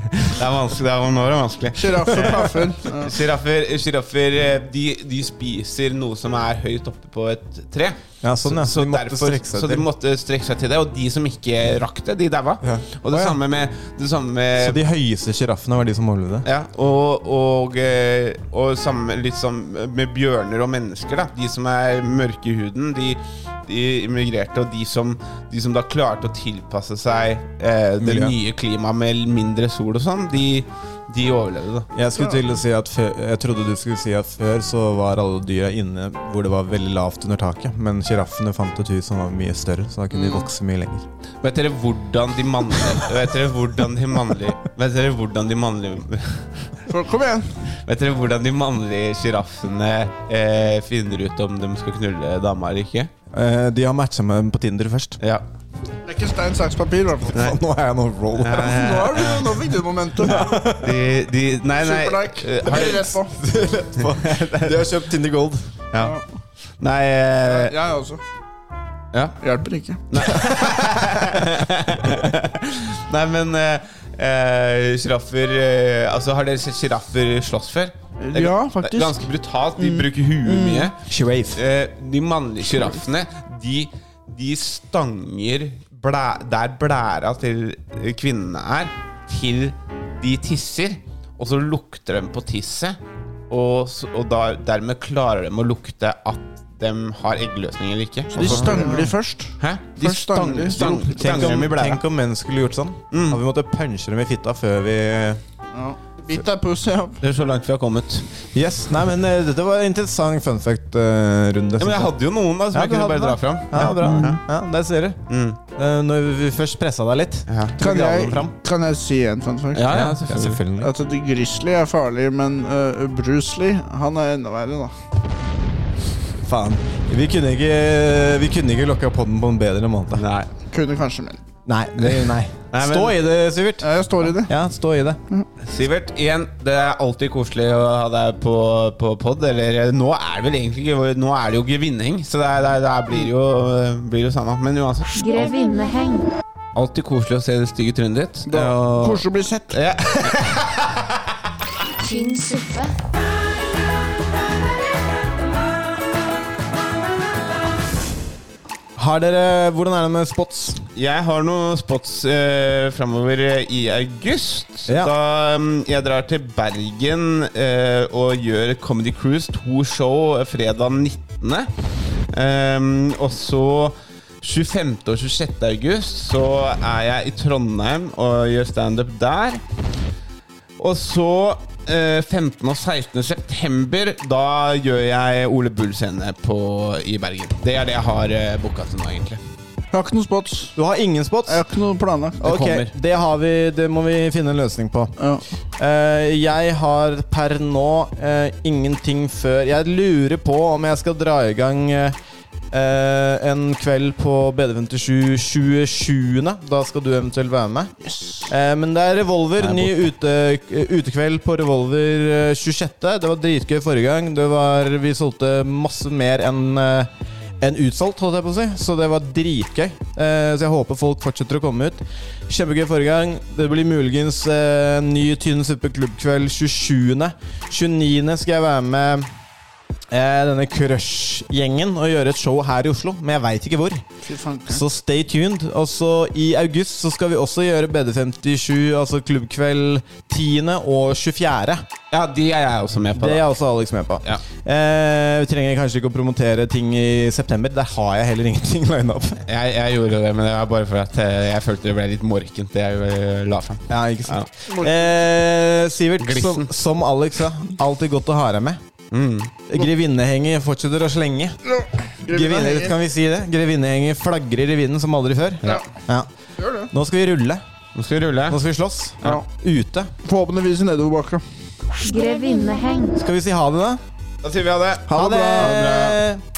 *laughs* Det er vanskelig. Det er, nå er det vanskelig. Eh,
Sjiraffer, paffer. Ja.
Sjiraffer sjiraffer, eh, de, de spiser noe som er høyt oppe på et tre.
Ja, sånn, ja.
Så, så,
De måtte
derfor,
strekke seg
så de
til.
måtte strekke seg til det. Og de som ikke rakk det, de daua.
Ja.
Og
Å,
det
ja.
samme med, det samme
Så
med
de høyeste sjiraffene var de som overlevde.
ja, og, og, eh, og samme, litt som med bjørner og mennesker. Da. De som er mørke i huden, de, de immigrerte. Og de som, de som da klarte å tilpasse seg eh, det
Miljø.
nye klimaet med mindre sol og sånn, de, De overlevde, da.
Jeg, skulle til å si at før, jeg trodde du skulle si at før så var alle dyra inne hvor det var veldig lavt under taket. Men sjiraffene fant et hus som var mye større, så da kunne de vokse mye lenger.
Vet dere hvordan de mannlige Vet dere hvordan de mannlige Vet dere hvordan de mannlige
Kom igjen.
Vet dere hvordan de mannlige sjiraffene eh, finner ut om de skal knulle dama eller ikke?
Eh, de har matcha med dem på Tinder først.
Ja.
Det er ikke stein, saks, papir, i hvert fall.
Faen, *laughs* Nå er jeg noe roll.
Nå,
*laughs*
er du- nå fikk du momentum.
De, de Nei, nei.
Supernike.
eh, har-
Rett på.
De har kjøpt Tinder Gold.
Ja. Nei eh,
Jeg også.
Ja.
Hjelper ikke.
Nei, men eh, sjiraffer eh, Altså, har dere sett sjiraffer slåss før? Det er
Ja,
ga-
faktisk. Mm.
Det er ganske brutalt. De bruker huet mye.
Shiraf.
Eh, de mannlige sjiraffene, de, de stanger blæ, der blæra til kvinnene er, til de tisser. Og så lukter de på tisset, og, s- og da, dermed klarer de å lukte at de har eggløsning eller ikke.
De
Og så-
stangler først.
Hæ? De
Først stanger
stanger,
de.
stanger,
Tenk
stanger
om,
dem i blæra.
tenk om menn skulle gjort sånn. At vi måtte punche dem i fitta før vi
Ja. Bit deg pussy opp.
Det er så langt vi har kommet.
Yes, nei, men eh, Dette var en interessant fun fact-runde.
Ja, men jeg hadde jo noen da som jeg
du
kunne
hadde
bare dra
det.
fram.
Ja, mm. bra. Ja, der ser du. Eh, Når vi først pressa deg litt.
Kan
vi drar
jeg,
den fram?
kan jeg si en fun fact?
Ja, ja,
Ja,
selvfølgelig.
selvfølgelig.
At de Grizzly er farlig, men øh, Bruce Lee han er enda verre, da.
Faen. Vi kunne ikke, vi kunne ikke lokka podden på en bedre måte.
Nei.
Kunne kanskje mer.
Nei. Det, nei.
Nei, men-
Stå i det, Sivert.
Ja, Jeg står i det.
Ja, stå i det.
Sivert, igjen, det er alltid koselig å ha deg på, på pod. Eller eh, nå er det vel egentlig ikke Nå er det jo gevinning, så det, er, det, er, det er, blir jo, eh, blir jo samme. Men uansett.
Grevinneheng.
Alltid koselig å se det stygge trynet ditt.
Da,
og-
Koselig å bli sett.
ja.
Tynn suppe.
Har dere, Hvordan er det med spots?
Jeg har noen spots eh, framover i august.
Ja.
Da mm, jeg drar til Bergen eh, og gjør Comedy Cruise, to show eh, fredag 19. Ehm, og så 25. og 26. august så er jeg i Trondheim og gjør standup der. Og så eh, 15. og 16. september, da gjør jeg Ole Bull scene på- i Bergen. Det er det jeg har eh, booka til nå, egentlig.
Jeg har ikke noen spots.
Du har ingen spots?
Jeg har ikke noe planlagt.
Ok,
kommer.
det, har vi, det må vi finne en løsning på.
Ja.
Eh, jeg har per nå eh, ingenting før Jeg lurer på om jeg skal dra i gang eh, eh, en kveld på BD57 27. Da skal du eventuelt være med. Eh, men det er Revolver. Ny ute, eh, utekveld på Revolver eh, 26. Det var dritgøy forrige gang. Det var, vi solgte masse mer enn eh, enn utsolgt, holdt jeg på å si. Så det var dritgøy. Eh, så jeg håper folk fortsetter å komme ut. Kjempegøy forrige gang. Det blir muligens eh, ny Tynn suppe klubbkveld 27. 29. skal jeg være med eh, denne Crush-gjengen og gjøre et show her i Oslo, men jeg veit ikke hvor.
Fy fanken.
Så stay tuned. Og så i august så skal vi også gjøre BD57, altså klubbkveld 10. og 24.
Ja, de er jeg også med på.
Det
Da.
er også Alex med på.
Ja.
Eh, vi trenger kanskje ikke å promotere ting i september. Der har jeg heller ingenting *laughs* lina opp.
Jeg, jeg gjorde det, men det var bare for at eh, jeg følte det ble litt morkent, det jeg eh, la fram.
Ja, ikke sant eh, Sivert, som,
Glissen. Mm.
som Alex sa, alltid godt å ha deg med. Grevinnehenger fortsetter å slenge. Grevinner, kan vi si det? Grevinnehenger flagrer i vinden som aldri før.
Ja.
Ja.
Gjør det.
Nå skal vi rulle.
Nå skal vi rulle.
Nå skal vi slåss.
Ja.
Ute.
Forhåpentligvis i nedoverbakka.
Grevinneheng.
Skal vi si ha det, da?
Da sier vi ha det.
Ha det!